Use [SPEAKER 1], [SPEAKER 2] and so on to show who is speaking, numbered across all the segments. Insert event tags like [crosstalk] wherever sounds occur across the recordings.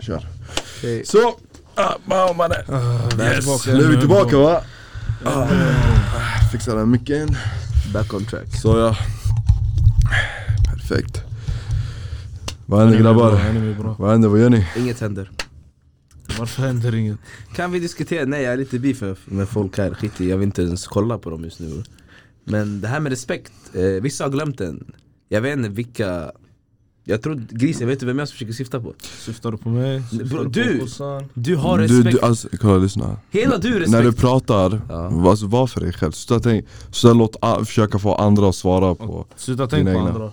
[SPEAKER 1] Kör.
[SPEAKER 2] Okej.
[SPEAKER 1] Så. Ah, bara om man är. Yes. Nu är vi Ah, tillbaka va? Ah, fixar den micken.
[SPEAKER 2] Back on track.
[SPEAKER 1] Så ja. Perfekt. Vad händer grabbar?
[SPEAKER 3] Han är med bra.
[SPEAKER 1] Vad händer? Vad gör ni?
[SPEAKER 2] Inget händer.
[SPEAKER 3] Varför händer inget?
[SPEAKER 2] Kan vi diskutera? Nej jag är lite beef med folk här, skit i, jag vill inte ens kolla på dem just nu Men det här med respekt, eh, vissa har glömt den Jag vet inte vilka Jag tror, gris, jag vet inte vem jag försöker syfta på
[SPEAKER 3] Syftar du på mig? Syftar
[SPEAKER 2] Bro,
[SPEAKER 3] på
[SPEAKER 2] du!
[SPEAKER 3] kossan?
[SPEAKER 2] Du har
[SPEAKER 1] Du,
[SPEAKER 2] respekt,
[SPEAKER 1] du, alltså, kolla lyssna.
[SPEAKER 2] hela du respekt
[SPEAKER 1] När du pratar,
[SPEAKER 2] Ja.
[SPEAKER 1] alltså, var för dig själv. Sluta, tänk, sluta låt a- försöka få andra att svara på.
[SPEAKER 3] Sluta tänk på
[SPEAKER 1] Dina egna.
[SPEAKER 3] andra.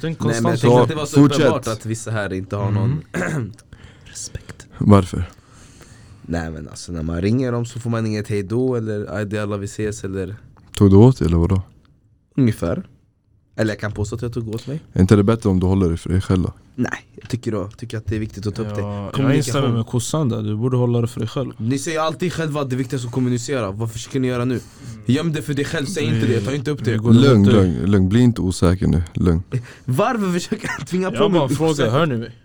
[SPEAKER 3] Tänk
[SPEAKER 2] Nej men jag
[SPEAKER 3] konstant
[SPEAKER 2] tänkte
[SPEAKER 1] Så,
[SPEAKER 2] att det var så
[SPEAKER 1] fortsätt. Mm.
[SPEAKER 2] uppenbart att vissa här inte har någon [clears throat] respekt
[SPEAKER 1] Varför?
[SPEAKER 2] Nej men alltså när man ringer dem så får man inget hejdå eller "Aj, det är alla vi ses eller
[SPEAKER 1] Tog du åt dig eller vadå?
[SPEAKER 2] Ungefär Eller jag kan påstå att jag tog åt mig
[SPEAKER 1] Är inte det bättre om du håller dig för dig själv då?
[SPEAKER 2] Nej, jag tycker, då, tycker att det är viktigt att ta upp det
[SPEAKER 3] Ja, jag
[SPEAKER 2] Kommunikation.
[SPEAKER 3] instämmer med kossan där, du borde hålla det för dig själv.
[SPEAKER 2] Ni säger alltid själva att det är viktigt att kommunicera, vad försöker ni göra nu?
[SPEAKER 3] Mm.
[SPEAKER 2] Göm det för dig själv, säg inte det, ta inte upp
[SPEAKER 3] Vi
[SPEAKER 2] det
[SPEAKER 3] går
[SPEAKER 1] Lugn,
[SPEAKER 3] emot det.
[SPEAKER 1] lugn, lugn. Bli inte osäker nu. Lugn.
[SPEAKER 2] Varför försöker han tvinga på
[SPEAKER 3] Jag
[SPEAKER 2] mig?
[SPEAKER 3] bara frågar, hör ni mig?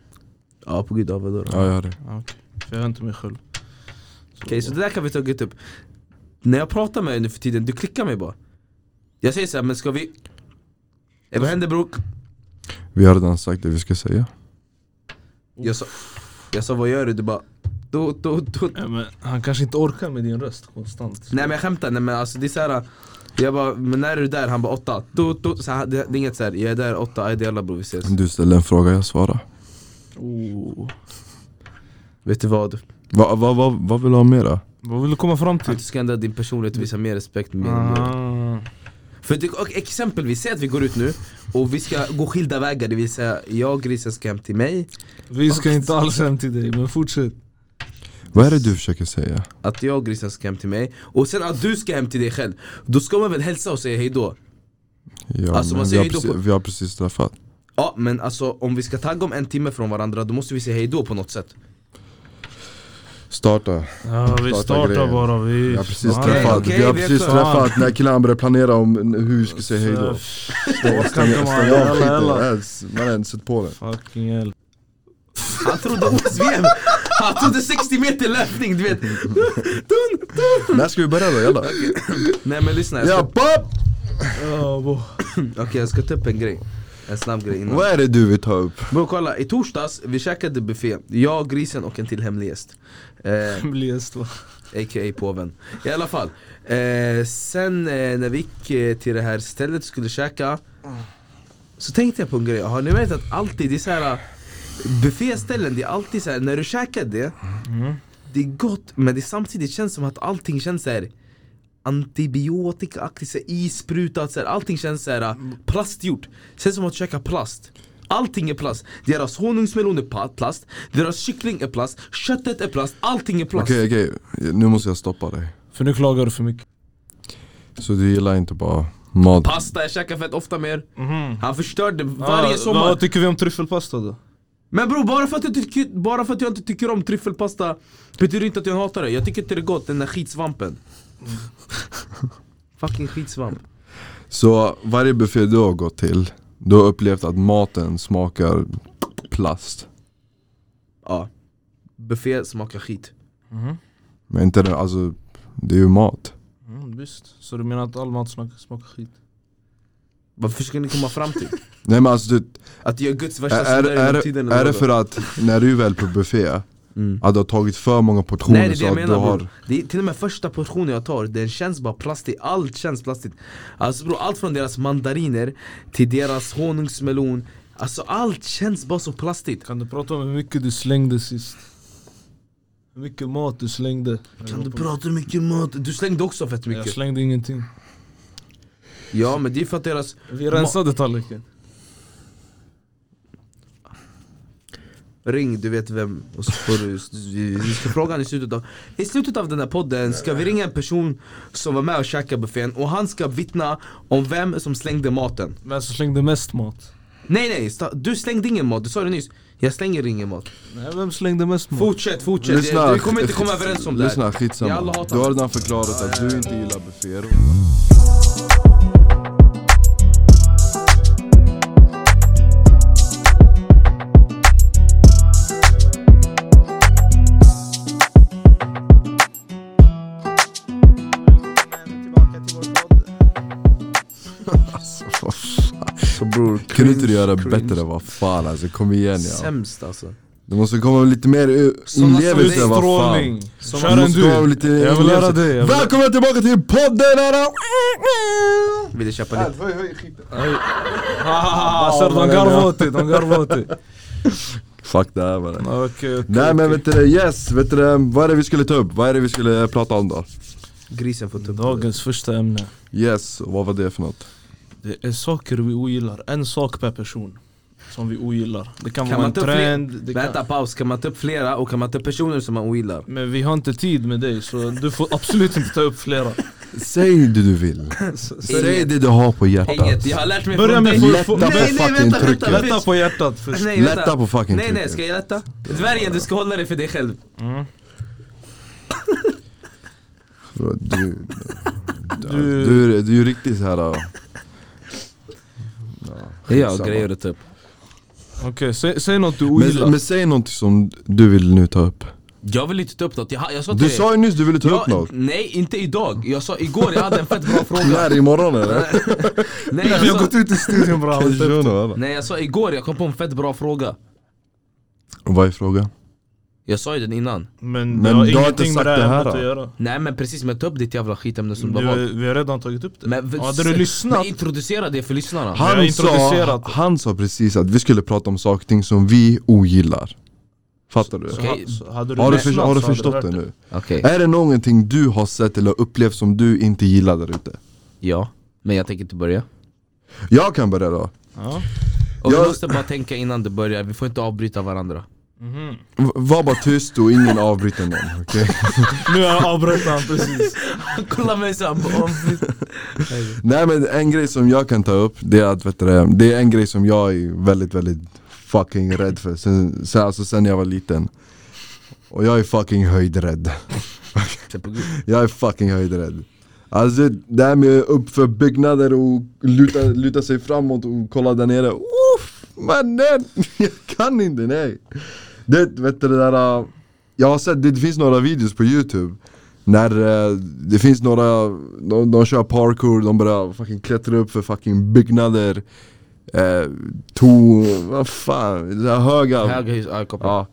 [SPEAKER 2] Ja på gud, ja, vadå då? Okej,
[SPEAKER 1] Ja, jag hör dig.
[SPEAKER 3] Ja, okej. För jag hör inte mig själv.
[SPEAKER 2] så det där kan vi ta upp När jag pratar med dig nu för tiden, du klickar mig bara Jag säger såhär, men ska vi... Eh, vad händer bror?
[SPEAKER 1] Vi har redan sagt det vi ska säga.
[SPEAKER 2] Jag sa, jag sa vad gör du? Du bara... Då, då, då.
[SPEAKER 3] Ja, men han kanske inte orkar med din röst konstant.
[SPEAKER 2] Nej men jag skämtar, nej men alltså det är såhär Jag bara, men när är du där? Han bara åtta, då, då. Så här, det, det är inget såhär, jag är där åtta, aj det är alla bror vi ses
[SPEAKER 3] Mm.
[SPEAKER 1] Du ställer en fråga, jag svarar.
[SPEAKER 3] Oh.
[SPEAKER 2] Vet du vad?
[SPEAKER 1] Vad va, va, vad vill du ha mera?
[SPEAKER 3] Vad vill du komma fram
[SPEAKER 2] Att
[SPEAKER 3] till?
[SPEAKER 2] du ska ändra din personlighet och visa mer respekt med
[SPEAKER 3] Ah.
[SPEAKER 2] För det, och exempelvis, säg att vi går ut nu och vi ska gå skilda vägar, det vill säga jag och grisen ska hem till mig
[SPEAKER 3] Vi ska inte alls hem till dig, men fortsätt.
[SPEAKER 1] Vad är det du försöker säga?
[SPEAKER 2] Att jag och grisen ska hem till mig och sen att du ska hem till dig själv Då ska man väl hälsa och säga hejdå?
[SPEAKER 1] Ja,
[SPEAKER 2] Alltså,
[SPEAKER 1] men
[SPEAKER 2] man
[SPEAKER 1] vi,
[SPEAKER 2] säger
[SPEAKER 1] har
[SPEAKER 2] ju då
[SPEAKER 1] precis,
[SPEAKER 2] på-
[SPEAKER 1] vi har precis träffat.
[SPEAKER 2] Ja men alltså om vi ska tagga om en timme från varandra då måste vi säga hejdå på något sätt
[SPEAKER 1] Starta.
[SPEAKER 3] Ja, vi
[SPEAKER 1] Starta
[SPEAKER 3] startar
[SPEAKER 1] grejen.
[SPEAKER 3] bara. Vi...
[SPEAKER 1] Vi har precis
[SPEAKER 3] Fan.
[SPEAKER 1] träffat.
[SPEAKER 2] okej,
[SPEAKER 1] vi har
[SPEAKER 2] vi är
[SPEAKER 1] precis
[SPEAKER 2] klara.
[SPEAKER 1] träffat när killarna började planera om hur vi ska säga hejdå.
[SPEAKER 3] Orkar inte
[SPEAKER 1] Stäng stäng
[SPEAKER 3] man. Jalla,
[SPEAKER 1] av skiten.
[SPEAKER 3] jalla.
[SPEAKER 1] Ens- Man har ens sett på den.
[SPEAKER 3] Fucking hell.
[SPEAKER 2] Han trodde OS-VM! Han trodde 60 meter löpning du vet [laughs]
[SPEAKER 1] När ska vi börja då? Jalla.
[SPEAKER 2] Nej men lyssna, jag
[SPEAKER 1] Ja,
[SPEAKER 2] ska,
[SPEAKER 1] pop!
[SPEAKER 3] Ja, bo.
[SPEAKER 2] okej, jag ska ta upp en grej En snabb grej innan
[SPEAKER 1] Vad är det du vill ta upp?
[SPEAKER 2] Bror kolla, i torsdags, vi käkade buffé, jag, grisen och en till hemlig gäst eh,
[SPEAKER 3] Bli gäst va?
[SPEAKER 2] A.k.a. påven I alla fall, eh, sen eh, när vi gick eh, till det här stället och skulle käka Så tänkte jag på en grej, har ni märkt att alltid det är så här eh, Bufféställen, det är alltid så här när du käkar det Det är gott, men det samtidigt känns som att allting känns så här Antibiotikaaktigt, så här isprutat, så här, allting känns så här eh, plastgjort Känns som att käka plast Allting är plast, deras honungsmelon är pa- plast, deras kyckling är plast, köttet är plast, allting är plast
[SPEAKER 1] Okej okej, nu måste jag stoppa dig.
[SPEAKER 3] För nu klagar du för mycket.
[SPEAKER 1] Så du gillar inte bara mat?
[SPEAKER 2] Pasta, jag käkar fett ofta med er
[SPEAKER 1] Mhm.
[SPEAKER 2] Han förstörde varje
[SPEAKER 3] Varje
[SPEAKER 2] sommar
[SPEAKER 3] Vad tycker vi om tryffelpasta då?
[SPEAKER 2] Men bror, bara för, att jag tycker, bara för att jag inte tycker om tryffelpasta Betyder inte att jag hatar det, jag tycker inte det är gott, den där
[SPEAKER 1] [laughs]
[SPEAKER 2] skitsvampen Fucking skitsvamp
[SPEAKER 1] Så varje buffé du har gått till, du har upplevt att maten smakar plast.
[SPEAKER 2] Ja Buffé smakar skit
[SPEAKER 1] Men inte det, alltså det är ju mat.
[SPEAKER 3] Mm, visst. Så du menar att all mat smak- smakar skit?
[SPEAKER 2] Varför ska ni komma fram till?
[SPEAKER 1] Nej men alltså du,
[SPEAKER 2] Att jag är Guds värsta
[SPEAKER 1] är, är,
[SPEAKER 2] syndare genom
[SPEAKER 1] är, är
[SPEAKER 2] tiden
[SPEAKER 1] det
[SPEAKER 2] vadå?
[SPEAKER 1] för att när du är väl på buffé,
[SPEAKER 2] Mm.
[SPEAKER 1] att du har tagit för många portioner
[SPEAKER 2] Nej det är det
[SPEAKER 1] så att du
[SPEAKER 2] jag menar
[SPEAKER 1] har
[SPEAKER 2] bror det är Till och med första portionen jag tar, den känns bara plastig, allt känns plastigt Alltså bror, allt från deras mandariner till deras honungsmelon Alltså allt känns bara så plastigt
[SPEAKER 3] Kan du prata om hur mycket du slängde sist? Hur mycket mat du slängde?
[SPEAKER 2] Kan du prata mycket mat? Du slängde också fett
[SPEAKER 3] Jag
[SPEAKER 2] mycket
[SPEAKER 3] slängde ingenting.
[SPEAKER 2] Ja men det är för att deras
[SPEAKER 3] Vi rensade tallriken.
[SPEAKER 2] Ring, du vet vem, och så får du, vi ska fråga han i slutet av I slutet av den här podden ska vi ringa en person som var med och käkade buffén och han ska vittna om vem som slängde maten
[SPEAKER 3] Vem som slängde mest mat?
[SPEAKER 2] Nej nej, sta- du slängde ingen mat, du sa det nyss Jag slänger ingen mat
[SPEAKER 3] Nej, vem slängde mest mat?
[SPEAKER 2] Fortsätt, fortsätt,
[SPEAKER 1] Lyssna,
[SPEAKER 2] vi kommer inte komma överens om det här
[SPEAKER 1] Lyssna,
[SPEAKER 2] Jag alla
[SPEAKER 1] skitsamma.
[SPEAKER 2] hatar
[SPEAKER 1] Du har redan förklarat att du inte gillar bufféer. Alltså, Kunde inte du göra
[SPEAKER 3] Cringe,
[SPEAKER 1] bättre? Vad fan alltså, kom igen ja.
[SPEAKER 2] Sämst alltså.
[SPEAKER 1] Det måste komma lite mer u-
[SPEAKER 2] Såna
[SPEAKER 1] inlevelse,
[SPEAKER 2] som
[SPEAKER 1] vad fan.
[SPEAKER 3] Strålning.
[SPEAKER 2] Som-
[SPEAKER 3] Kör en
[SPEAKER 1] måste ha
[SPEAKER 3] du.
[SPEAKER 1] lite
[SPEAKER 3] Jag vill höra det. Jag vill...
[SPEAKER 1] Välkomna tillbaka till podden! ära!
[SPEAKER 2] Vill du köpa lite?
[SPEAKER 3] Assar de garvar åt dig, de garvar åt dig.
[SPEAKER 1] Fuck det här bara.
[SPEAKER 3] Okej,
[SPEAKER 1] Nej
[SPEAKER 3] okej.
[SPEAKER 1] men vet du det, yes, vet du det, vad är det vi skulle ta upp? Vad är det vi skulle prata om då?
[SPEAKER 2] Grisen får tuppa.
[SPEAKER 3] Dagens första ämne.
[SPEAKER 1] Yes, och vad var det för något?
[SPEAKER 3] Det är saker vi ogillar. En sak per person. Som vi ogillar. Det kan,
[SPEAKER 2] Kan
[SPEAKER 3] vara
[SPEAKER 2] man
[SPEAKER 3] en
[SPEAKER 2] ta upp fler-
[SPEAKER 3] trend. Det kan...
[SPEAKER 2] Vänta paus, kan man ta upp flera och kan man ta upp personer som man ogillar?
[SPEAKER 3] Men vi har inte tid med dig så du får absolut inte ta upp flera.
[SPEAKER 1] Säg det du
[SPEAKER 3] [laughs]
[SPEAKER 1] vill, säg det du har på hjärtat
[SPEAKER 2] Inget, jag har lärt mig
[SPEAKER 3] Börja
[SPEAKER 2] från
[SPEAKER 3] med
[SPEAKER 2] dig.
[SPEAKER 3] full-
[SPEAKER 1] Lätta på
[SPEAKER 3] Nej, nej,
[SPEAKER 1] fucking
[SPEAKER 2] vänta, vänta,
[SPEAKER 1] trycket
[SPEAKER 2] vänta.
[SPEAKER 3] Lätta på hjärtat först.
[SPEAKER 2] Nej, vänta.
[SPEAKER 1] Lätta på fucking
[SPEAKER 2] Nej nej,
[SPEAKER 1] trycket
[SPEAKER 2] ska jag lätta? Dvärgen du ska hålla dig för dig själv.
[SPEAKER 1] Bro, du,
[SPEAKER 3] [laughs] Du-
[SPEAKER 1] du, du, är- du är ju riktigt såhär ja,
[SPEAKER 2] Ja,
[SPEAKER 1] skitsamma.
[SPEAKER 2] grejer typ. att ta upp.
[SPEAKER 3] Okej, säg, säg något du ogillar.
[SPEAKER 1] men, men säg någonting som du vill nu ta upp
[SPEAKER 2] Jag vill inte ta upp något, jag, har- jag sa till
[SPEAKER 1] Du
[SPEAKER 2] dig.
[SPEAKER 1] sa ju nyss du ville ta upp
[SPEAKER 2] jag,
[SPEAKER 1] något
[SPEAKER 2] Nej, inte idag. Jag sa igår, jag hade en fett
[SPEAKER 1] [laughs]
[SPEAKER 2] bra fråga.
[SPEAKER 1] När imorgon eller?
[SPEAKER 2] nej,
[SPEAKER 3] Vi
[SPEAKER 2] jag
[SPEAKER 3] har
[SPEAKER 2] sa,
[SPEAKER 3] gått ut i studion bra.
[SPEAKER 2] nej, jag sa igår, jag kom på en fett bra fråga.
[SPEAKER 1] Vad är frågan?
[SPEAKER 2] Jag sa ju den innan.
[SPEAKER 3] Men, det
[SPEAKER 1] Men
[SPEAKER 3] har
[SPEAKER 1] du har inte
[SPEAKER 3] ingenting med
[SPEAKER 1] sagt
[SPEAKER 3] det
[SPEAKER 1] det
[SPEAKER 3] här
[SPEAKER 1] här,
[SPEAKER 3] ämnet att
[SPEAKER 1] då?
[SPEAKER 3] göra.
[SPEAKER 2] Nej men precis, men ta upp ditt jävla skitämne som du har valt.
[SPEAKER 3] Du, vi har redan tagit upp det.
[SPEAKER 2] Men,
[SPEAKER 3] hade du lyssnat?
[SPEAKER 2] Men introducera det för lyssnarna.
[SPEAKER 3] jag har
[SPEAKER 1] Han sa,
[SPEAKER 3] introducerat det.
[SPEAKER 1] han sa precis att vi skulle prata om saker och ting som vi ogillar Fattar du?
[SPEAKER 3] Så,
[SPEAKER 2] Okej.
[SPEAKER 3] ha- så hade du
[SPEAKER 1] Har du,
[SPEAKER 3] lyssnat
[SPEAKER 1] för, har du
[SPEAKER 3] så hade
[SPEAKER 1] förstått
[SPEAKER 3] hört
[SPEAKER 1] det nu?
[SPEAKER 2] Okej,
[SPEAKER 1] Är det någonting du har sett eller upplevt som du inte gillar där ute?
[SPEAKER 2] ja. Men jag tänker inte börja.
[SPEAKER 1] Jag kan börja då
[SPEAKER 3] Ja.
[SPEAKER 2] Och
[SPEAKER 1] Jag-
[SPEAKER 2] vi måste bara tänka innan det börjar, vi får inte
[SPEAKER 1] [laughs]
[SPEAKER 2] avbryta varandra.
[SPEAKER 3] Mhm.
[SPEAKER 1] V- Var bara tyst och ingen avbryter någon, okej? [laughs]
[SPEAKER 3] Nu avbröt han precis.
[SPEAKER 2] Kolla mig såhär,
[SPEAKER 1] Nej men en grej som jag kan ta upp, det är att vet du, det, det är en grej som jag är väldigt väldigt fucking rädd för sen, sen, alltså, sen jag var liten Och jag är fucking höjdrädd Jag är fucking höjdrädd Alltså det här med uppför byggnader och luta, luta sig framåt och kolla där nere Uff, mannen! [laughs] Jag kan inte, nej! Det, vet du, det där, äh, jag har sett, det, det finns några videos på youtube När eh, det finns några, de, de kör parkour, de börjar fucking klättra upp för fucking byggnader eh, Torn, vad fan, det där höga
[SPEAKER 2] Höga hus, ja, jag kopplar.
[SPEAKER 1] Ja.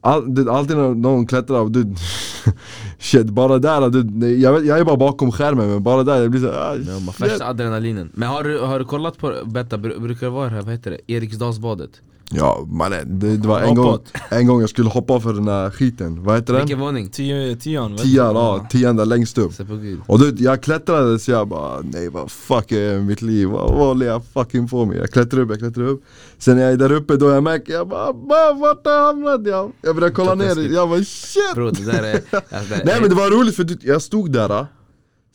[SPEAKER 1] All, du, alltid när någon klättrar, du, [laughs] shit bara där, du, nej, jag, vet, jag är bara bakom skärmen men bara där, jag blir såhär
[SPEAKER 2] Ja, man
[SPEAKER 1] ah, shit.
[SPEAKER 2] Värsta adrenalinen. Men har du, har du kollat på, vänta, bru- brukar det vara det här, vad heter det? Eriksdalsbadet?
[SPEAKER 1] Ja mannen, det, det var en gång,
[SPEAKER 3] Hoppat.
[SPEAKER 1] en gång jag skulle hoppa för den här skiten, vad heter den?
[SPEAKER 2] Vilken våning?
[SPEAKER 3] Tio, tian vet du?
[SPEAKER 1] Tian, ja, tian där längst upp
[SPEAKER 2] Se på gud.
[SPEAKER 1] Och du, jag klättrade så jag bara nej vad fuck är mitt liv, vad, vad håller jag fucking på med? Jag klättrar upp, jag klättrar upp Sen när jag är där uppe då jag märker, jag bara "Va, vart har jag hamnat? Jag, jag börjar kolla ner, jag bara shit!
[SPEAKER 2] Bro det där är...
[SPEAKER 1] [laughs]
[SPEAKER 2] Alltså, det,
[SPEAKER 1] Nej men det var roligt för du- jag stod där äh.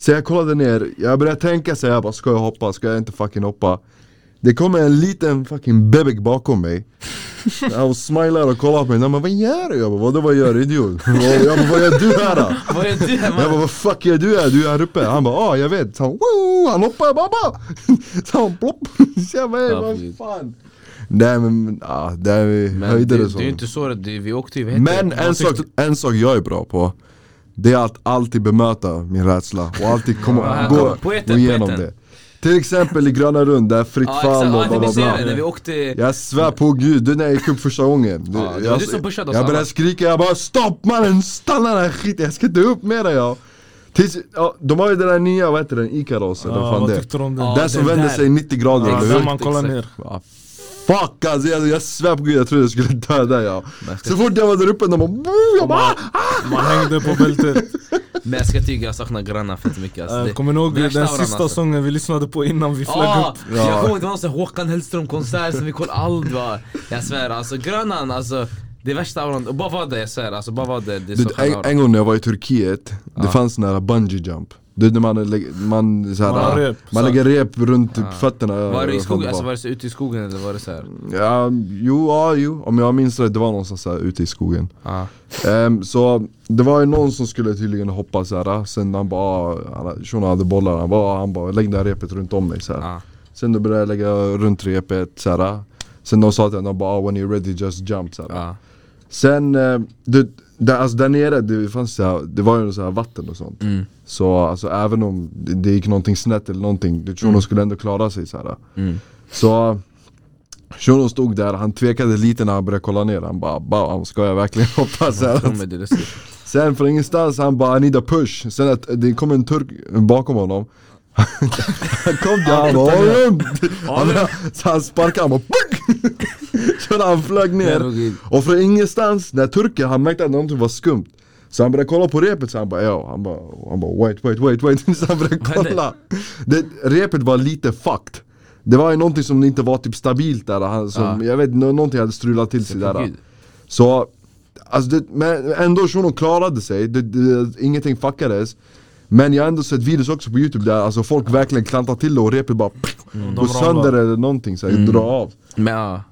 [SPEAKER 1] Så jag kollade ner, jag började tänka så här, jag bara ska jag hoppa, ska jag inte fucking hoppa? Det kommer en liten fucking bebek bakom
[SPEAKER 2] [laughs]
[SPEAKER 1] mig Hon smilar och kollar på mig, Nej, men vad gör du? Jag bara vadå vad gör du idiot? Och Jag bara vad gör du här? Då?
[SPEAKER 2] Vad är
[SPEAKER 1] [laughs]
[SPEAKER 2] du här
[SPEAKER 1] Jag bara vad fuck gör du här? Du är här uppe? Han bara ah jag vet, så han, wow, han hoppar, jag bara [laughs] "Ba!" Så han plopp, [laughs] så jag bara, "Hey,
[SPEAKER 2] Ja,
[SPEAKER 1] vad
[SPEAKER 2] fy.
[SPEAKER 1] fan Nej men, ah, det är
[SPEAKER 2] Men
[SPEAKER 1] höjder
[SPEAKER 2] det,
[SPEAKER 1] och
[SPEAKER 2] det
[SPEAKER 1] sånt
[SPEAKER 2] är ju inte så, att det, vi åkte ju, vad heter
[SPEAKER 1] men en sak, en sak jag är bra på Det är att alltid bemöta min rädsla och alltid komma
[SPEAKER 2] här
[SPEAKER 1] gå,
[SPEAKER 2] kommer poeten,
[SPEAKER 1] gå igenom
[SPEAKER 2] poeten.
[SPEAKER 1] det Till exempel i Gröna Rund, där fritt
[SPEAKER 2] Ja
[SPEAKER 1] fall och
[SPEAKER 2] exakt, ja,
[SPEAKER 1] bla bla
[SPEAKER 2] ni ser det, när
[SPEAKER 1] bla
[SPEAKER 2] vi åkte...
[SPEAKER 1] jag svär på gud, du när jag gick upp första gången du,
[SPEAKER 2] Ja, det var
[SPEAKER 1] Jag,
[SPEAKER 2] du som pushade oss
[SPEAKER 1] jag började
[SPEAKER 2] alla.
[SPEAKER 1] skrika, jag bara stopp mannen, stanna den här skiten, jag ska inte upp med dig jag Tills, ja, De har ju den där nya, vad heter den, Ikaros eller
[SPEAKER 3] Ja,
[SPEAKER 1] vad fan
[SPEAKER 3] vad
[SPEAKER 1] det
[SPEAKER 3] tyckte du om den?
[SPEAKER 2] Ja,
[SPEAKER 1] Den som
[SPEAKER 2] den
[SPEAKER 1] vänder
[SPEAKER 2] där.
[SPEAKER 1] sig 90 grader,
[SPEAKER 3] Ja,
[SPEAKER 1] eller
[SPEAKER 3] där
[SPEAKER 1] hur?
[SPEAKER 3] man kollar
[SPEAKER 2] Exakt.
[SPEAKER 3] ner.
[SPEAKER 1] Ah, fuck alltså, jag, jag svär på gud jag trodde jag skulle dö där ja. Så fort jag var där uppe, de bara, "Boo!" jag bara "Ah!"
[SPEAKER 3] Man hängde på bältet.
[SPEAKER 2] Men jag ska tyga, jag saknar grannar fett mycket alltså.
[SPEAKER 3] Äh,
[SPEAKER 2] Det-
[SPEAKER 3] Kommer ni ihåg
[SPEAKER 2] värsta
[SPEAKER 3] den
[SPEAKER 2] auran,
[SPEAKER 3] sista
[SPEAKER 2] alltså.
[SPEAKER 3] sången vi lyssnade på innan vi flög
[SPEAKER 2] Ja,
[SPEAKER 3] upp?
[SPEAKER 2] jag
[SPEAKER 1] Ja.
[SPEAKER 2] kommer inte ihåg någon Håkan Hellström-konsert som vi kollade allt va Jag svär alltså, Grönan alltså Det värsta auran, och bara var det jag svär alltså, bara var det, det
[SPEAKER 1] Du,
[SPEAKER 2] är så
[SPEAKER 1] vet,
[SPEAKER 2] skön
[SPEAKER 1] en,
[SPEAKER 2] aura
[SPEAKER 1] en gång när jag var i Turkiet, det fanns den här bungee jump Du vet när man, lä- man, så här,
[SPEAKER 3] Man har rep.
[SPEAKER 1] man lägger rep runt typ fötterna
[SPEAKER 2] Var det i
[SPEAKER 1] eller vad
[SPEAKER 2] skogen,
[SPEAKER 1] fan
[SPEAKER 2] alltså
[SPEAKER 1] det
[SPEAKER 2] var det så ute i skogen eller var det såhär?
[SPEAKER 1] var. ja, Jo, ja, jo, om jag minns rätt, det var någonstans så här, ute i skogen
[SPEAKER 2] Ja,
[SPEAKER 1] Ehm, Så det var ju någon som skulle tydligen hoppa så här. sen han bara, han- shunon hade bollar, han bara, han bara lägg det här repet runt om dig så här.
[SPEAKER 2] ja
[SPEAKER 1] Sen då började jag lägga runt repet så här. Sen de sa till honom, de bara, "Ah, when you're ready just jump så här.
[SPEAKER 2] ja
[SPEAKER 1] Sen, eh, du, där, alltså där nere, det, fanns så här, det var ju så här vatten och sånt
[SPEAKER 2] Mm.
[SPEAKER 1] Så alltså, även om det, det gick någonting snett eller någonting, du tror de skulle ändå klara sig så här.
[SPEAKER 2] Mm.
[SPEAKER 1] Så Shunon stod där, han tvekade lite när han började kolla ner Han bara bam, ska jag verkligen [laughs] hoppa? Så här.
[SPEAKER 2] Kommer det lustigt.
[SPEAKER 1] Sen från ingenstans, han bara I need a push Sen att det kom en turk bakom honom [laughs] Han kom där, han bara "Alum!" [laughs] han, Så han sparkade, han bara "Puck!" [laughs] Så han flög
[SPEAKER 2] Jag
[SPEAKER 1] ner
[SPEAKER 2] låg i-
[SPEAKER 1] Och från ingenstans, när turken, han märkte att någonting var skumt så han började kolla på repet, så han bara ja, han bara, han bara wait, wait, wait, wait [laughs] Så han började
[SPEAKER 2] Vad är det?
[SPEAKER 1] kolla det, Repet var lite fucked Det var ju någonting som inte var typ stabilt där, han, som, jag vet, nå- någonting hade strulat till sig där
[SPEAKER 2] Gud.
[SPEAKER 1] så, alltså det, men ändå shunon klarade sig, det, det, ingenting fuckades Men jag har ändå sett videos också på youtube där alltså folk verkligen klantar till det och repet bara
[SPEAKER 3] Mm. De
[SPEAKER 1] går
[SPEAKER 3] ramlar.
[SPEAKER 1] sönder eller någonting så här,
[SPEAKER 2] Mm.
[SPEAKER 1] drar av
[SPEAKER 2] Men ja,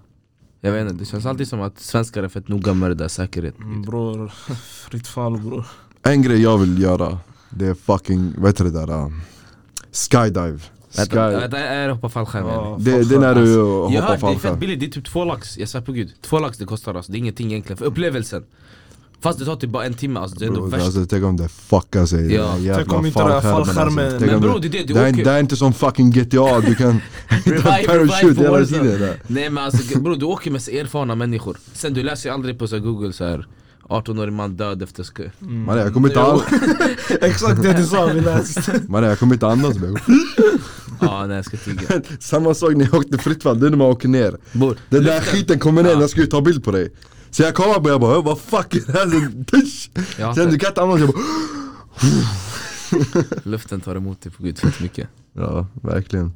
[SPEAKER 2] jag vet inte, det känns alltid som att svenskar är fett noga med det där säkerhet
[SPEAKER 3] Mm, Bror, fritt fall bror.
[SPEAKER 1] En grej jag vill göra, det är fucking, vad heter det där? äh, skydive Sky,
[SPEAKER 2] Vänta, vänta, jag hoppar fallskärm igen.
[SPEAKER 3] Ja,
[SPEAKER 1] det, det är när du
[SPEAKER 2] Jag
[SPEAKER 1] hoppar
[SPEAKER 2] hörde, det är fett
[SPEAKER 1] fallskärm
[SPEAKER 2] billigt, det är typ två lax, jag svär på gud Två lax det kostar alltså, det är ingenting egentligen för upplevelsen Fast det tar typ bara en timme alltså, det är ändå
[SPEAKER 1] Bro,
[SPEAKER 2] värst
[SPEAKER 1] Alltså, tänk om det fuckar sig
[SPEAKER 2] Ja.
[SPEAKER 1] den här
[SPEAKER 3] Tänk om
[SPEAKER 1] jävla
[SPEAKER 3] inte den här
[SPEAKER 1] fallskärmen
[SPEAKER 3] fallskärmen-
[SPEAKER 1] alltså. Tänk
[SPEAKER 2] Men
[SPEAKER 1] om
[SPEAKER 2] bro, det är det, du
[SPEAKER 1] det, är,
[SPEAKER 2] åker-
[SPEAKER 1] det är inte som fucking GTA, du
[SPEAKER 2] [laughs]
[SPEAKER 1] kan hitta en
[SPEAKER 2] Revive, revive
[SPEAKER 1] parachute
[SPEAKER 2] på
[SPEAKER 1] hela
[SPEAKER 2] Warzone.
[SPEAKER 1] tiden där.
[SPEAKER 2] Nej men alltså bror, du åker med så erfarna människor Sen du läser ju aldrig på så här, google så här 18-årig man död efter sku
[SPEAKER 3] Mm.
[SPEAKER 1] Man, jag kommer inte, an-
[SPEAKER 3] Exakt det du sa, vi läste.
[SPEAKER 1] man, jag kommer inte andas bro.
[SPEAKER 2] [laughs] Ja nej jag ska tiga
[SPEAKER 1] [laughs] Samma sak när jag åkte fritt fall, det är när man åker ner
[SPEAKER 2] Bror,
[SPEAKER 1] Den där
[SPEAKER 2] luften-
[SPEAKER 1] skiten kommer ner,
[SPEAKER 2] Ja.
[SPEAKER 1] den ska ju ta bild på dig Så jag kollar på jag bara "Ö, vad fuck är det här? Sen, tush.
[SPEAKER 2] Jag har
[SPEAKER 1] Sen
[SPEAKER 2] inte-
[SPEAKER 1] du kan inte andas, jag bara
[SPEAKER 2] Luften tar emot dig på gud fett mycket
[SPEAKER 1] Ja, verkligen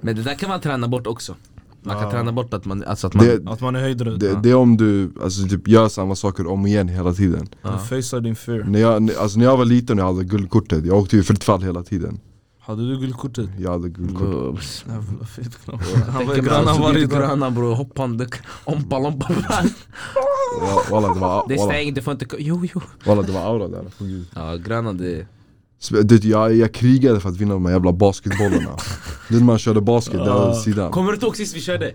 [SPEAKER 2] Men det där kan man träna bort också Man kan
[SPEAKER 3] Ja.
[SPEAKER 2] träna bort att man, alltså att man
[SPEAKER 1] det,
[SPEAKER 3] Att man är höjdrädd.
[SPEAKER 1] det, det är om du alltså, typ, gör samma saker om igen hela tiden
[SPEAKER 3] Du facear din fear.
[SPEAKER 1] när jag, alltså, när jag var liten och jag hade guldkortet, jag åkte ju i fritt fall hela tiden
[SPEAKER 3] Hade du guldkortet?
[SPEAKER 1] Jag hade guldkortet
[SPEAKER 2] Bror,
[SPEAKER 3] Jävla fet knapp. Han var
[SPEAKER 2] Tänker mig
[SPEAKER 3] grannar
[SPEAKER 2] alltså, det är
[SPEAKER 3] varje dag.
[SPEAKER 2] grannar bror, hoppande,
[SPEAKER 1] [laughs]
[SPEAKER 2] ompa lompa
[SPEAKER 1] Ja, Walla det var,
[SPEAKER 2] Det är
[SPEAKER 1] walla,
[SPEAKER 2] stängt, du får inte ko- Jo jo
[SPEAKER 1] walla, det var aura där, för gud
[SPEAKER 2] Ja gröna det
[SPEAKER 1] Så, du, vet, jag, jag krigade för att vinna de här jävla
[SPEAKER 3] [laughs]
[SPEAKER 1] basketbollarna Du vet man körde basket, där
[SPEAKER 3] Ah.
[SPEAKER 1] åt sidan
[SPEAKER 2] Kommer du inte ihåg sist vi körde?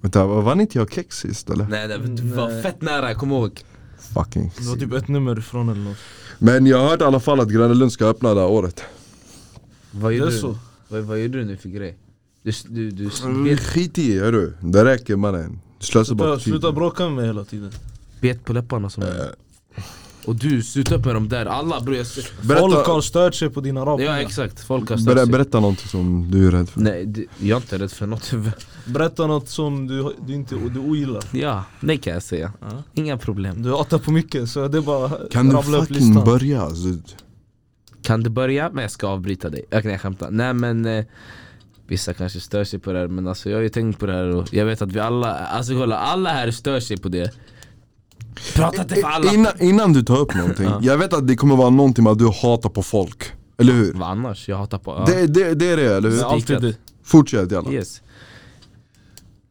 [SPEAKER 1] Vänta, vann inte jag kex sist eller?
[SPEAKER 2] Nej Mm, nej, du var fett nära, jag kommer ihåg
[SPEAKER 1] Fucking
[SPEAKER 3] Det var typ ett nummer ifrån eller något.
[SPEAKER 1] Men jag har hört i alla fall att Gröna Lund ska öppna det här året
[SPEAKER 2] Vad
[SPEAKER 3] Det
[SPEAKER 2] gjorde
[SPEAKER 3] är
[SPEAKER 2] du? Mm.
[SPEAKER 3] så.
[SPEAKER 2] Vad, vad gjorde du nu för grej? Du, s- du, du s-
[SPEAKER 1] Men
[SPEAKER 2] bet,
[SPEAKER 1] Skit i hörru, det räcker mannen Du slösar bara
[SPEAKER 3] Mm. Sluta,
[SPEAKER 1] på tiden
[SPEAKER 3] sluta bråka med mig hela tiden.
[SPEAKER 2] bet på läpparna som Och du, sluta upp med de där, alla bror jag s-
[SPEAKER 3] Folk har
[SPEAKER 1] Berätta,
[SPEAKER 3] stört sig på dina rap.
[SPEAKER 2] Ja exakt, folk har stört
[SPEAKER 1] ber,
[SPEAKER 2] sig
[SPEAKER 1] berätta någonting som du är rädd för
[SPEAKER 2] Nej, det- jag är inte rädd för något [laughs]
[SPEAKER 3] Berätta något som du, du inte du ogillar.
[SPEAKER 2] Ja, det kan jag säga
[SPEAKER 3] Ja.
[SPEAKER 2] Inga problem
[SPEAKER 3] Du hatar på mycket så det är bara
[SPEAKER 1] Kan du
[SPEAKER 3] rabbla upp
[SPEAKER 1] fucking
[SPEAKER 3] listan.
[SPEAKER 1] börja? Alltså,
[SPEAKER 2] Kan du börja? Men jag ska avbryta dig. Jag kan jag skämtar. Nej men eh, Vissa kanske stör sig på det här men alltså jag har ju tänkt på det här och jag vet att vi alla, alltså kolla alla här stör sig på det. Prata inte för alla.
[SPEAKER 1] innan, innan du tar upp någonting, jag vet att det kommer vara någonting med att du hatar på folk, eller hur?
[SPEAKER 2] Vad annars? Jag hatar på... Ja.
[SPEAKER 1] Det, det, det är det eller
[SPEAKER 3] Det
[SPEAKER 1] hur?
[SPEAKER 3] är alltid det.
[SPEAKER 1] Fortsätt jalla
[SPEAKER 2] Yes.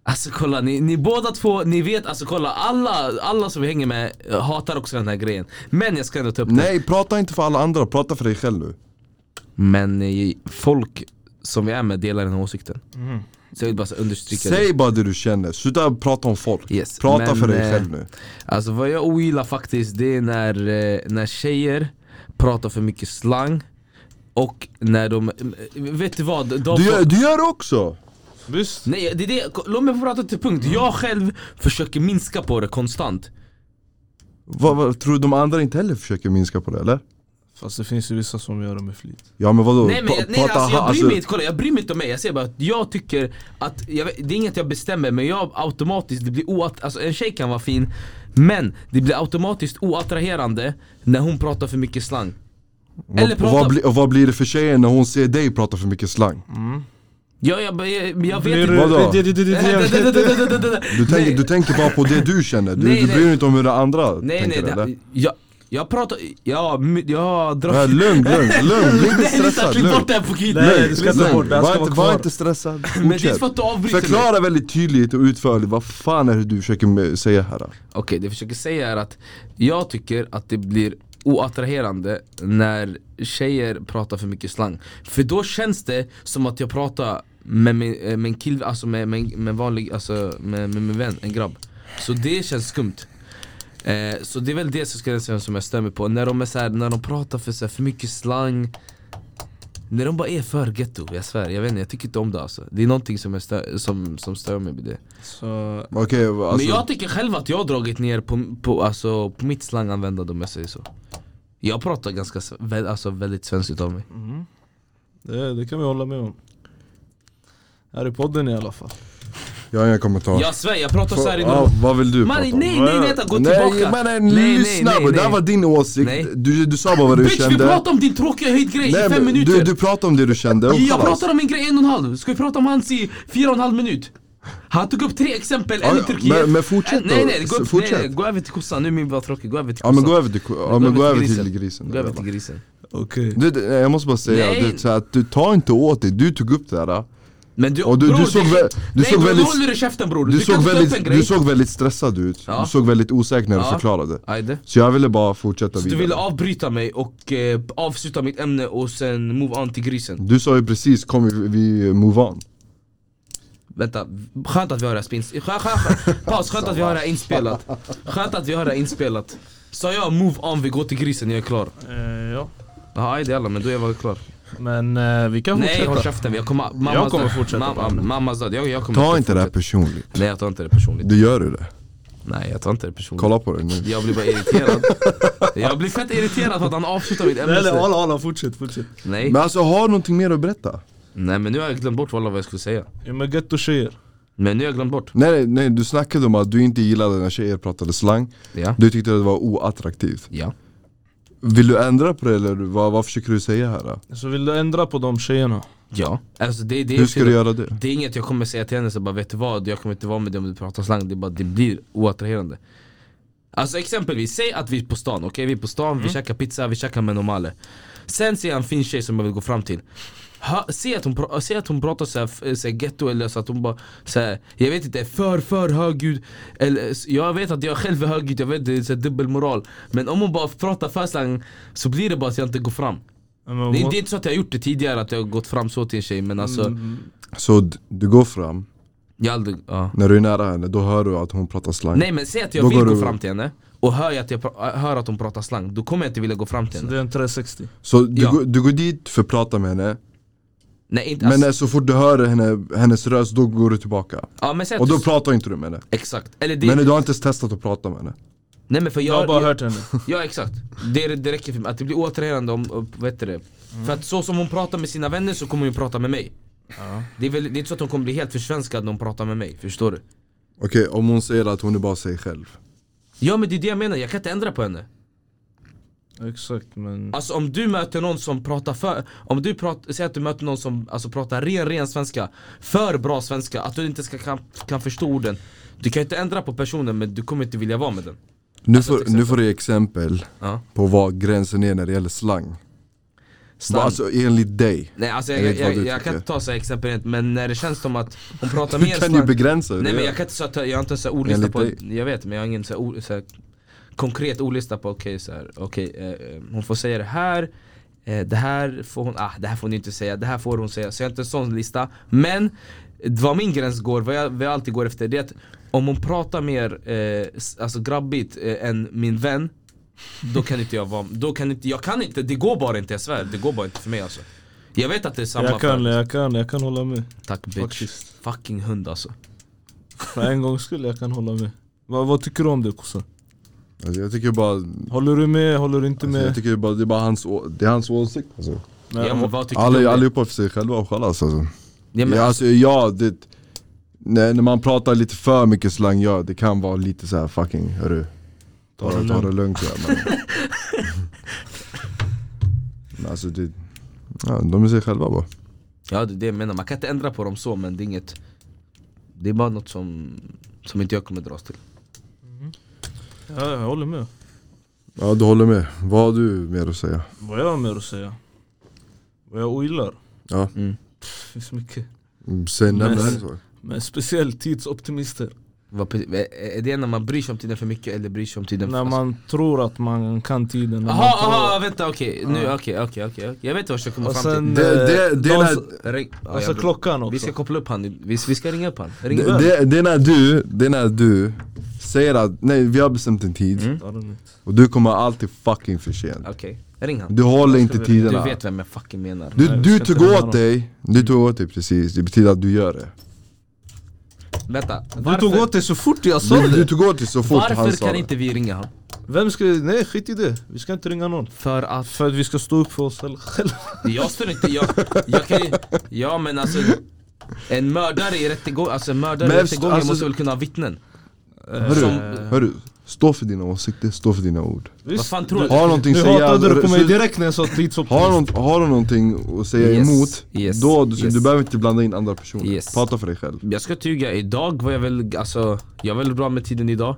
[SPEAKER 2] Alltså kolla, ni, ni båda två, ni vet, alltså kolla alla, alla som vi hänger med eh, hatar också den här grejen. Men jag ska ändå ta upp det.
[SPEAKER 1] Nej prata inte för alla andra, prata för dig själv nu
[SPEAKER 2] Men eh, folk som vi är med delar den här åsikten. Så jag vill bara så understryka det.
[SPEAKER 1] Säg bara det du känner, sluta prata om folk
[SPEAKER 2] Yes,
[SPEAKER 1] Prata
[SPEAKER 2] men,
[SPEAKER 1] för dig
[SPEAKER 2] eh,
[SPEAKER 1] själv nu
[SPEAKER 2] Alltså vad jag ogillar faktiskt det är när, eh, när tjejer pratar för mycket slang och när de, eh, vet du vad? De
[SPEAKER 1] Du gör, du gör också!
[SPEAKER 3] Visst?
[SPEAKER 2] Nej det är det, ko- låt mig få prata till punkt. Jag själv försöker minska på det konstant.
[SPEAKER 1] Vad, vad, tror du de andra inte heller försöker minska på det eller?
[SPEAKER 3] Fast det finns ju vissa som gör det med flit.
[SPEAKER 1] Ja men vadå?
[SPEAKER 2] Nej men
[SPEAKER 1] Pa-
[SPEAKER 2] jag- nej, alltså, jag
[SPEAKER 1] ha-
[SPEAKER 2] bryr mig inte, kolla jag bryr mig inte om mig. Jag säger bara att jag tycker att, jag, vet- det är inget jag bestämmer men jag automatiskt, det blir oat, alltså en tjej kan vara fin men det blir automatiskt oattraherande när hon pratar för mycket slang. Eller
[SPEAKER 1] och, och, vad
[SPEAKER 2] prata,
[SPEAKER 1] bli, och vad blir det för tjejen när hon ser dig prata för mycket slang?
[SPEAKER 2] ja, jag, jag, jag vet
[SPEAKER 3] Blir
[SPEAKER 2] inte.
[SPEAKER 3] du-
[SPEAKER 1] Vadå?
[SPEAKER 3] det- det-
[SPEAKER 2] [laughs]
[SPEAKER 3] det- det- det- det- det-
[SPEAKER 1] Du tänker,
[SPEAKER 2] Nej.
[SPEAKER 1] du tänker bara på det du känner, du,
[SPEAKER 2] Nej,
[SPEAKER 1] du
[SPEAKER 2] nej.
[SPEAKER 1] bryr dig inte om hur det andra
[SPEAKER 2] Nej nej,
[SPEAKER 1] tänker
[SPEAKER 2] det,
[SPEAKER 1] eller?
[SPEAKER 2] jag, jag pratar, ja, my- jag har
[SPEAKER 1] Ja,
[SPEAKER 2] druckit
[SPEAKER 1] lugn, lugn, lugn, bli inte
[SPEAKER 2] [laughs] Nej lyssna,
[SPEAKER 1] stressad,
[SPEAKER 2] klipp
[SPEAKER 1] lugn
[SPEAKER 2] bort det här på kid!
[SPEAKER 3] Nej, nej, du ska ta
[SPEAKER 1] Lugn.
[SPEAKER 3] bort det, här ska
[SPEAKER 1] var,
[SPEAKER 3] vara
[SPEAKER 1] inte, var
[SPEAKER 3] kvar.
[SPEAKER 1] inte stressad,
[SPEAKER 2] [laughs] Men det är
[SPEAKER 1] fortsätt
[SPEAKER 2] för att du avbryter mig!
[SPEAKER 1] Förklara väldigt tydligt och utförligt, vad fan är det du försöker med- säga här? då?
[SPEAKER 2] Okej, det jag försöker säga är att jag tycker att det blir oattraherande när tjejer pratar för mycket slang För då känns det som att jag pratar med min, eh, med en kille, alltså med, med, med en vanlig, alltså med, med min vän, en grabb Så det känns skumt eh, Så det är väl det som, ska jag säga som jag stämmer på, när de, är så här, när de pratar för, så här, för mycket slang När de bara är för ghetto, jag svär, jag vet inte, jag tycker inte om det alltså Det är någonting som, jag stör, som, som stör mig med det
[SPEAKER 4] Så
[SPEAKER 1] Okej, alltså,
[SPEAKER 2] Men jag tycker själv att jag har dragit ner på, på, alltså, på mitt slanganvändande om jag säger så Jag pratar ganska, s- vä- alltså, väldigt svenskt utav mig
[SPEAKER 3] Mm. Det, det kan vi hålla med om. Här i podden i alla fall.
[SPEAKER 1] jag har inga kommentarer
[SPEAKER 2] Jag svär, jag pratar såhär i
[SPEAKER 1] ja,
[SPEAKER 2] normal...
[SPEAKER 1] Vad vill du
[SPEAKER 2] Man,
[SPEAKER 1] prata
[SPEAKER 2] nej
[SPEAKER 1] om?
[SPEAKER 2] nej vänta, gå
[SPEAKER 1] Nej
[SPEAKER 2] tillbaka!
[SPEAKER 1] mannen, lyssna bro, det här var din
[SPEAKER 2] Nej.
[SPEAKER 1] åsikt, du, du sa bara vad du
[SPEAKER 2] Bitch vi
[SPEAKER 1] kände
[SPEAKER 2] pratar om din tråkiga höjdgrej i
[SPEAKER 1] Nej,
[SPEAKER 2] fem
[SPEAKER 1] men
[SPEAKER 2] minuter!
[SPEAKER 1] Du, du pratar alltså. om det du kände, och
[SPEAKER 2] Jag
[SPEAKER 1] kallas.
[SPEAKER 2] pratar om min grej i en och en halv, ska vi prata om hans i fyra och en halv minut? Han tog upp tre exempel, en
[SPEAKER 1] Ja,
[SPEAKER 2] i
[SPEAKER 1] ja,
[SPEAKER 2] Turkiet
[SPEAKER 1] men- men fortsätt
[SPEAKER 2] en, nej,
[SPEAKER 1] då.
[SPEAKER 2] nej, gå upp,
[SPEAKER 1] Fortsätt.
[SPEAKER 2] nej nej, gå över till kossan, nu är min bara tråkig, gå över till
[SPEAKER 1] Ja
[SPEAKER 2] kossan
[SPEAKER 1] men gå över till, ja, men gå över till grisen
[SPEAKER 2] Gå över till grisen
[SPEAKER 3] Okej.
[SPEAKER 1] du, du, jag måste bara säga,
[SPEAKER 2] Nej.
[SPEAKER 1] du, så att du tar inte åt dig, du tog upp det här
[SPEAKER 2] Men du,
[SPEAKER 1] Och du- du
[SPEAKER 2] bror,
[SPEAKER 1] såg
[SPEAKER 2] det-
[SPEAKER 1] vä- du
[SPEAKER 2] Nej
[SPEAKER 1] såg
[SPEAKER 2] bror, nu
[SPEAKER 1] väldigt-
[SPEAKER 2] håller du käften bror,
[SPEAKER 1] Du, såg,
[SPEAKER 2] kan ta upp en
[SPEAKER 1] väldigt,
[SPEAKER 2] grej
[SPEAKER 1] du såg väldigt stressad ut,
[SPEAKER 2] Ja.
[SPEAKER 1] du såg väldigt osäker när du
[SPEAKER 2] Ja.
[SPEAKER 1] förklarade
[SPEAKER 2] Aj, det.
[SPEAKER 1] Så jag ville bara fortsätta
[SPEAKER 2] Så du
[SPEAKER 1] vidare
[SPEAKER 2] ville avbryta mig och eh, avsluta mitt ämne och sen move on till grisen
[SPEAKER 1] Du sa ju precis, kom vi, vi move on
[SPEAKER 2] Vänta, skönt att vi har det här spins... skö- skö- skö- Paus, skönt att vi har det här inspelat Skönt att vi har det här inspelat Sa jag move on, vi går till grisen, jag är klar
[SPEAKER 4] eh, ja.
[SPEAKER 2] Jaha, aj det alla, men då är jag väl klar
[SPEAKER 4] Men eh, vi kan
[SPEAKER 2] Nej håll
[SPEAKER 4] fortsätta
[SPEAKER 2] käften, jag kommer, mammas
[SPEAKER 4] Jag kommer
[SPEAKER 2] död.
[SPEAKER 4] fortsätta på
[SPEAKER 2] mamma,
[SPEAKER 4] ämnet.
[SPEAKER 2] Mammas död, jag, jag kommer
[SPEAKER 1] Ta inte det här personligt,
[SPEAKER 2] Nej jag tar inte det personligt,
[SPEAKER 1] du gör ju det
[SPEAKER 2] nej jag tar inte det personligt
[SPEAKER 1] Kolla på det nu
[SPEAKER 2] Jag blir bara irriterad Jag blir fett irriterad för att han avslutar mitt
[SPEAKER 3] Nej nej,
[SPEAKER 2] ämne
[SPEAKER 3] alla, alla, fortsätt, fortsätt.
[SPEAKER 2] Nej,
[SPEAKER 1] Men alltså har du någonting mer att berätta?
[SPEAKER 2] nej men nu har jag glömt bort wallah, vad jag skulle säga
[SPEAKER 3] Ja men getto-tjejer.
[SPEAKER 2] Men nu har jag glömt bort
[SPEAKER 1] Nej, nej, nej, du snackade om att du inte gillade när tjejer pratade slang
[SPEAKER 2] Ja,
[SPEAKER 1] Du tyckte att det var oattraktivt
[SPEAKER 2] ja
[SPEAKER 1] Vill du ändra på det eller vad, vad försöker du säga här? Då?
[SPEAKER 3] Så vill du ändra på de tjejerna?
[SPEAKER 2] Ja, alltså det, det,
[SPEAKER 1] Hur ska du göra det?
[SPEAKER 2] det är inget jag kommer säga till henne så bara vet du vad, jag kommer inte vara med dig om du pratar slang Det, är bara, det blir oattraherande Alltså exempelvis, säg att vi är på stan, okej vi är på stan, vi käkar pizza, vi käkar med normale Sen ser jag en fin tjej som jag vill gå fram till ha, se, att hon, pra- se att hon pratar såhär, f- såhär ghetto eller så att hon bara såhär, Jag vet inte, för för högljudd eller, s- Jag vet att jag själv är högljudd, jag vet det är så här dubbelmoral Men om hon bara pratar för slang så blir det bara att jag inte går fram
[SPEAKER 3] Ja, men
[SPEAKER 2] det,
[SPEAKER 3] what-
[SPEAKER 2] det är inte så att jag har gjort det tidigare, att jag har gått fram så till en tjej men alltså
[SPEAKER 1] Mm. Så d- du går fram,
[SPEAKER 2] Jag har aldrig, ja.
[SPEAKER 1] när du är nära henne, då hör du att hon pratar slang
[SPEAKER 2] Nej men säg att jag
[SPEAKER 1] Mm. Då
[SPEAKER 2] vill
[SPEAKER 1] går
[SPEAKER 2] gå
[SPEAKER 1] du-
[SPEAKER 2] fram till henne och hör, jag att jag pra- äh, hör att hon pratar slang, då kommer jag inte vilja gå fram till
[SPEAKER 3] Så
[SPEAKER 2] henne
[SPEAKER 3] det är en 360.
[SPEAKER 1] Så du,
[SPEAKER 2] Ja.
[SPEAKER 1] går- du går dit för att prata med henne,
[SPEAKER 2] Nej inte
[SPEAKER 1] men
[SPEAKER 2] alltså,
[SPEAKER 1] när- så fort du hör henne, hennes röst, då går du tillbaka
[SPEAKER 2] ja, men säg att
[SPEAKER 1] Och då
[SPEAKER 2] du,
[SPEAKER 1] pratar inte du med henne
[SPEAKER 2] Exakt, eller det,
[SPEAKER 1] Men du har inte ens testat att prata med henne
[SPEAKER 2] nej men för
[SPEAKER 3] Jag har
[SPEAKER 2] jag,
[SPEAKER 3] bara
[SPEAKER 2] jag
[SPEAKER 3] hört henne. [laughs]
[SPEAKER 2] ja exakt det, det räcker för mig, att det blir oattraherande om, om- vad heter det?
[SPEAKER 1] Mm.
[SPEAKER 2] För att så som hon pratar med sina vänner så kommer hon ju prata med mig det, är väl, det är inte så att hon kommer bli helt försvenskad när hon pratar med mig, förstår du?
[SPEAKER 1] Okej, om hon säger att hon är bara sig själv
[SPEAKER 2] Ja men det är det jag menar, jag kan inte ändra på henne
[SPEAKER 3] Exakt men...
[SPEAKER 2] Alltså om du möter någon som pratar för, om du pratar, säger att du möter någon som alltså, pratar ren, ren svenska För bra svenska, att du inte ska, kan, kan förstå orden Du kan ju inte ändra på personen men du kommer inte vilja vara med den
[SPEAKER 1] Nu
[SPEAKER 2] Alltså,
[SPEAKER 1] får, nu får du exempel
[SPEAKER 2] ja.
[SPEAKER 1] på vad gränsen är när det gäller slang
[SPEAKER 2] Slang.
[SPEAKER 1] Alltså enligt dig
[SPEAKER 2] Nej alltså
[SPEAKER 1] Jag
[SPEAKER 2] jag,
[SPEAKER 1] vet vad
[SPEAKER 2] jag,
[SPEAKER 1] du
[SPEAKER 2] jag, jag kan
[SPEAKER 1] tycker.
[SPEAKER 2] inte ta så här exempel rent, men när det känns som att hon
[SPEAKER 1] [laughs]
[SPEAKER 2] pratar
[SPEAKER 1] Du
[SPEAKER 2] mer
[SPEAKER 1] kan ju begränsa det
[SPEAKER 2] Nej men jag kan inte så att, jag har inte så här ordlista
[SPEAKER 1] Enligt
[SPEAKER 2] på, jag vet men jag har ingen så här, or, så här konkret ordlista på okej så här, okej eh, eh, hon får säga det här eh, det här får hon, ah det här får ni inte säga, det här får hon säga Så jag har inte en sån lista Men vad min gräns går, vad jag, vad jag alltid går efter det är att om hon pratar mer eh, s- alltså grabbigt eh, än min vän Då kan inte jag vara, då kan inte, jag kan inte, det går bara inte jag svär, det går bara inte för mig alltså Jag vet att det är samma
[SPEAKER 3] Jag kan,
[SPEAKER 2] för-
[SPEAKER 3] jag kan, jag kan hålla med.
[SPEAKER 2] Tack bitch,
[SPEAKER 3] Faktiskt.
[SPEAKER 2] fucking hund alltså
[SPEAKER 3] För en gångs skull, jag kan hålla med. Va, vad tycker du om det kossan?
[SPEAKER 1] Alltså, jag tycker bara,
[SPEAKER 3] Håller du med, håller du inte
[SPEAKER 1] alltså, jag
[SPEAKER 3] med?
[SPEAKER 1] tycker bara det är bara hans, å- det är hans åsikt alltså.
[SPEAKER 3] Nej,
[SPEAKER 2] ja, men vad tycker du
[SPEAKER 1] Alla,
[SPEAKER 2] om det?
[SPEAKER 1] Allihopa för sig själva och chalas alltså.
[SPEAKER 2] Ja, men
[SPEAKER 1] ja, alltså, ja, det, när, när man pratar lite för mycket slang, ja det kan vara lite så här fucking hörru Ta,
[SPEAKER 3] Ta det
[SPEAKER 1] det, ta det
[SPEAKER 3] lugnt.
[SPEAKER 1] lugnt ja, men.
[SPEAKER 2] [laughs]
[SPEAKER 1] men alltså det, ja, de är sig själva bara
[SPEAKER 2] Ja det är det jag menar, man kan inte ändra på dem så men det är inget Det är bara något som, som inte jag kommer dras till
[SPEAKER 3] Ja, jag håller med.
[SPEAKER 1] Ja du håller med, vad har du mer att säga?
[SPEAKER 3] Vad jag har mer att säga? Vad jag ogillar?
[SPEAKER 1] Ja,
[SPEAKER 2] mm.
[SPEAKER 3] Det finns mycket.
[SPEAKER 1] mm, säg nämn
[SPEAKER 3] Men-
[SPEAKER 1] en sak
[SPEAKER 3] Men speciellt tidsoptimister.
[SPEAKER 2] Vad pre- Är är det när man bryr sig om tiden för mycket eller bryr sig om tiden
[SPEAKER 3] När
[SPEAKER 2] för
[SPEAKER 3] man tror att man kan tiden. När
[SPEAKER 2] Jaha,
[SPEAKER 3] man tror...
[SPEAKER 2] aha, vänta okej, nu okej, okej, okej Jag vet vad jag ska komma
[SPEAKER 3] Och
[SPEAKER 2] fram
[SPEAKER 3] sen...
[SPEAKER 1] Det- det-
[SPEAKER 3] eh,
[SPEAKER 1] det
[SPEAKER 3] de
[SPEAKER 1] är
[SPEAKER 3] som-
[SPEAKER 1] när-
[SPEAKER 2] till Ring, ja, jag
[SPEAKER 3] Alltså
[SPEAKER 2] blir-
[SPEAKER 3] klockan också.
[SPEAKER 2] Vi ska koppla upp han, vi, vi ska ringa upp han Ring upp.
[SPEAKER 1] det, det, det är när du, det är när du säger att nej vi har bestämt en tid
[SPEAKER 2] Mm.
[SPEAKER 1] och du kommer alltid fucking för sent
[SPEAKER 2] Okej, ring han.
[SPEAKER 1] Du håller inte
[SPEAKER 2] Du
[SPEAKER 1] tiderna
[SPEAKER 2] vet vem jag fucking menar.
[SPEAKER 1] Du,
[SPEAKER 3] Nej,
[SPEAKER 1] du,
[SPEAKER 3] vi ska
[SPEAKER 1] tog
[SPEAKER 3] inte ringa
[SPEAKER 1] åt dig, du tog åt dig precis, det betyder att du gör det
[SPEAKER 2] Vänta,
[SPEAKER 3] Du
[SPEAKER 2] varför,
[SPEAKER 3] tog åt dig så fort jag sa
[SPEAKER 1] Du, du
[SPEAKER 3] det!
[SPEAKER 1] tog åt dig så fort han
[SPEAKER 2] varför
[SPEAKER 1] sa
[SPEAKER 2] kan
[SPEAKER 1] det
[SPEAKER 2] inte vi ringa han?
[SPEAKER 3] Vem ska... Nej skit i det, vi ska inte ringa någon
[SPEAKER 2] För att
[SPEAKER 3] För att vi ska stå upp för oss själva
[SPEAKER 2] jag står inte, jag, jag kan ju, ja men alltså en mördare i rättegången, alltså en mördare
[SPEAKER 1] Men
[SPEAKER 2] i
[SPEAKER 1] eftersom-
[SPEAKER 2] rättegången
[SPEAKER 1] alltså-
[SPEAKER 2] måste väl kunna ha vittnen?
[SPEAKER 1] Hörru,
[SPEAKER 2] Som-
[SPEAKER 1] hörru, stå för dina åsikter, stå för dina ord
[SPEAKER 2] [laughs] Vad fan tror du?
[SPEAKER 1] Har någonting
[SPEAKER 3] Nu
[SPEAKER 1] att säga,
[SPEAKER 3] hatade du på mig
[SPEAKER 1] så-
[SPEAKER 3] direkt när jag sa
[SPEAKER 1] har,
[SPEAKER 3] tidsoptimist
[SPEAKER 1] någon, har du någonting att säga
[SPEAKER 2] Yes,
[SPEAKER 1] emot,
[SPEAKER 2] yes,
[SPEAKER 1] då du,
[SPEAKER 2] yes.
[SPEAKER 1] du behöver inte blanda in andra personer
[SPEAKER 2] Yes.
[SPEAKER 1] Prata för dig själv
[SPEAKER 2] Jag ska tyga, idag var jag väl, alltså jag var väl bra med tiden idag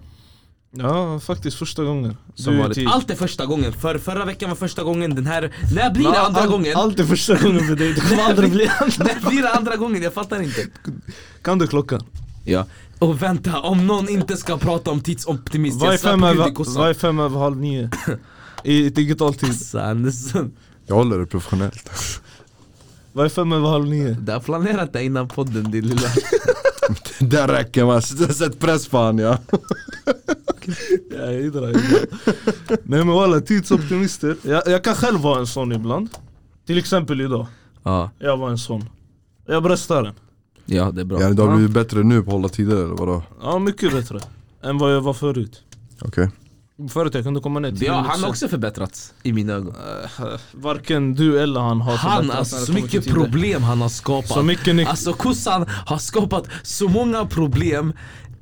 [SPEAKER 3] Ja faktiskt, första gången
[SPEAKER 2] Som
[SPEAKER 3] Du är typ-
[SPEAKER 2] vanligt.
[SPEAKER 3] tid.
[SPEAKER 2] Allt är första gången, för, förra veckan var första gången, den här, när blir
[SPEAKER 3] Ja,
[SPEAKER 2] det andra
[SPEAKER 3] allt-
[SPEAKER 2] gången?
[SPEAKER 3] Allt är första gången för dig, det kommer aldrig bli
[SPEAKER 2] [laughs] När blir det andra gången? Jag fattar inte
[SPEAKER 3] [laughs] Kan du klockan?
[SPEAKER 2] Ja, och vänta, om någon inte ska prata om tidsoptimism,
[SPEAKER 3] Varje
[SPEAKER 2] jag svär
[SPEAKER 3] fem
[SPEAKER 2] på gud i
[SPEAKER 3] över,
[SPEAKER 2] kossan
[SPEAKER 3] varje fem över halv nio I
[SPEAKER 2] [laughs]
[SPEAKER 3] digital tid,
[SPEAKER 2] Assa Andersson,
[SPEAKER 1] Jag håller det professionellt [laughs]
[SPEAKER 3] varje fem över halv nio
[SPEAKER 2] du har planerat det innan podden din
[SPEAKER 3] [laughs]
[SPEAKER 2] lilla
[SPEAKER 1] Där räcker man, S- sätt press på han ja
[SPEAKER 3] Ja, jag gillar det, jag gillar det. Nej men walla, tidsoptimister jag, jag kan själv vara en sån ibland Till exempel idag,
[SPEAKER 2] Ja,
[SPEAKER 3] jag var en sån Jag bröstar den
[SPEAKER 2] ja det är bra
[SPEAKER 1] Ja, Du har blivit bättre nu på att hålla tider eller vadå?
[SPEAKER 3] Ja mycket bättre än vad jag var förut
[SPEAKER 1] Okej
[SPEAKER 3] Förut jag kunde komma ner till
[SPEAKER 2] Ja, han har också förbättrats i mina ögon
[SPEAKER 3] Varken du eller han har
[SPEAKER 2] Han,
[SPEAKER 3] förbättrats
[SPEAKER 2] alltså
[SPEAKER 3] när det
[SPEAKER 2] så
[SPEAKER 3] kommer till
[SPEAKER 2] mycket
[SPEAKER 3] tider.
[SPEAKER 2] problem han har skapat
[SPEAKER 3] Så mycket nytt
[SPEAKER 2] Alltså kossan har skapat så många problem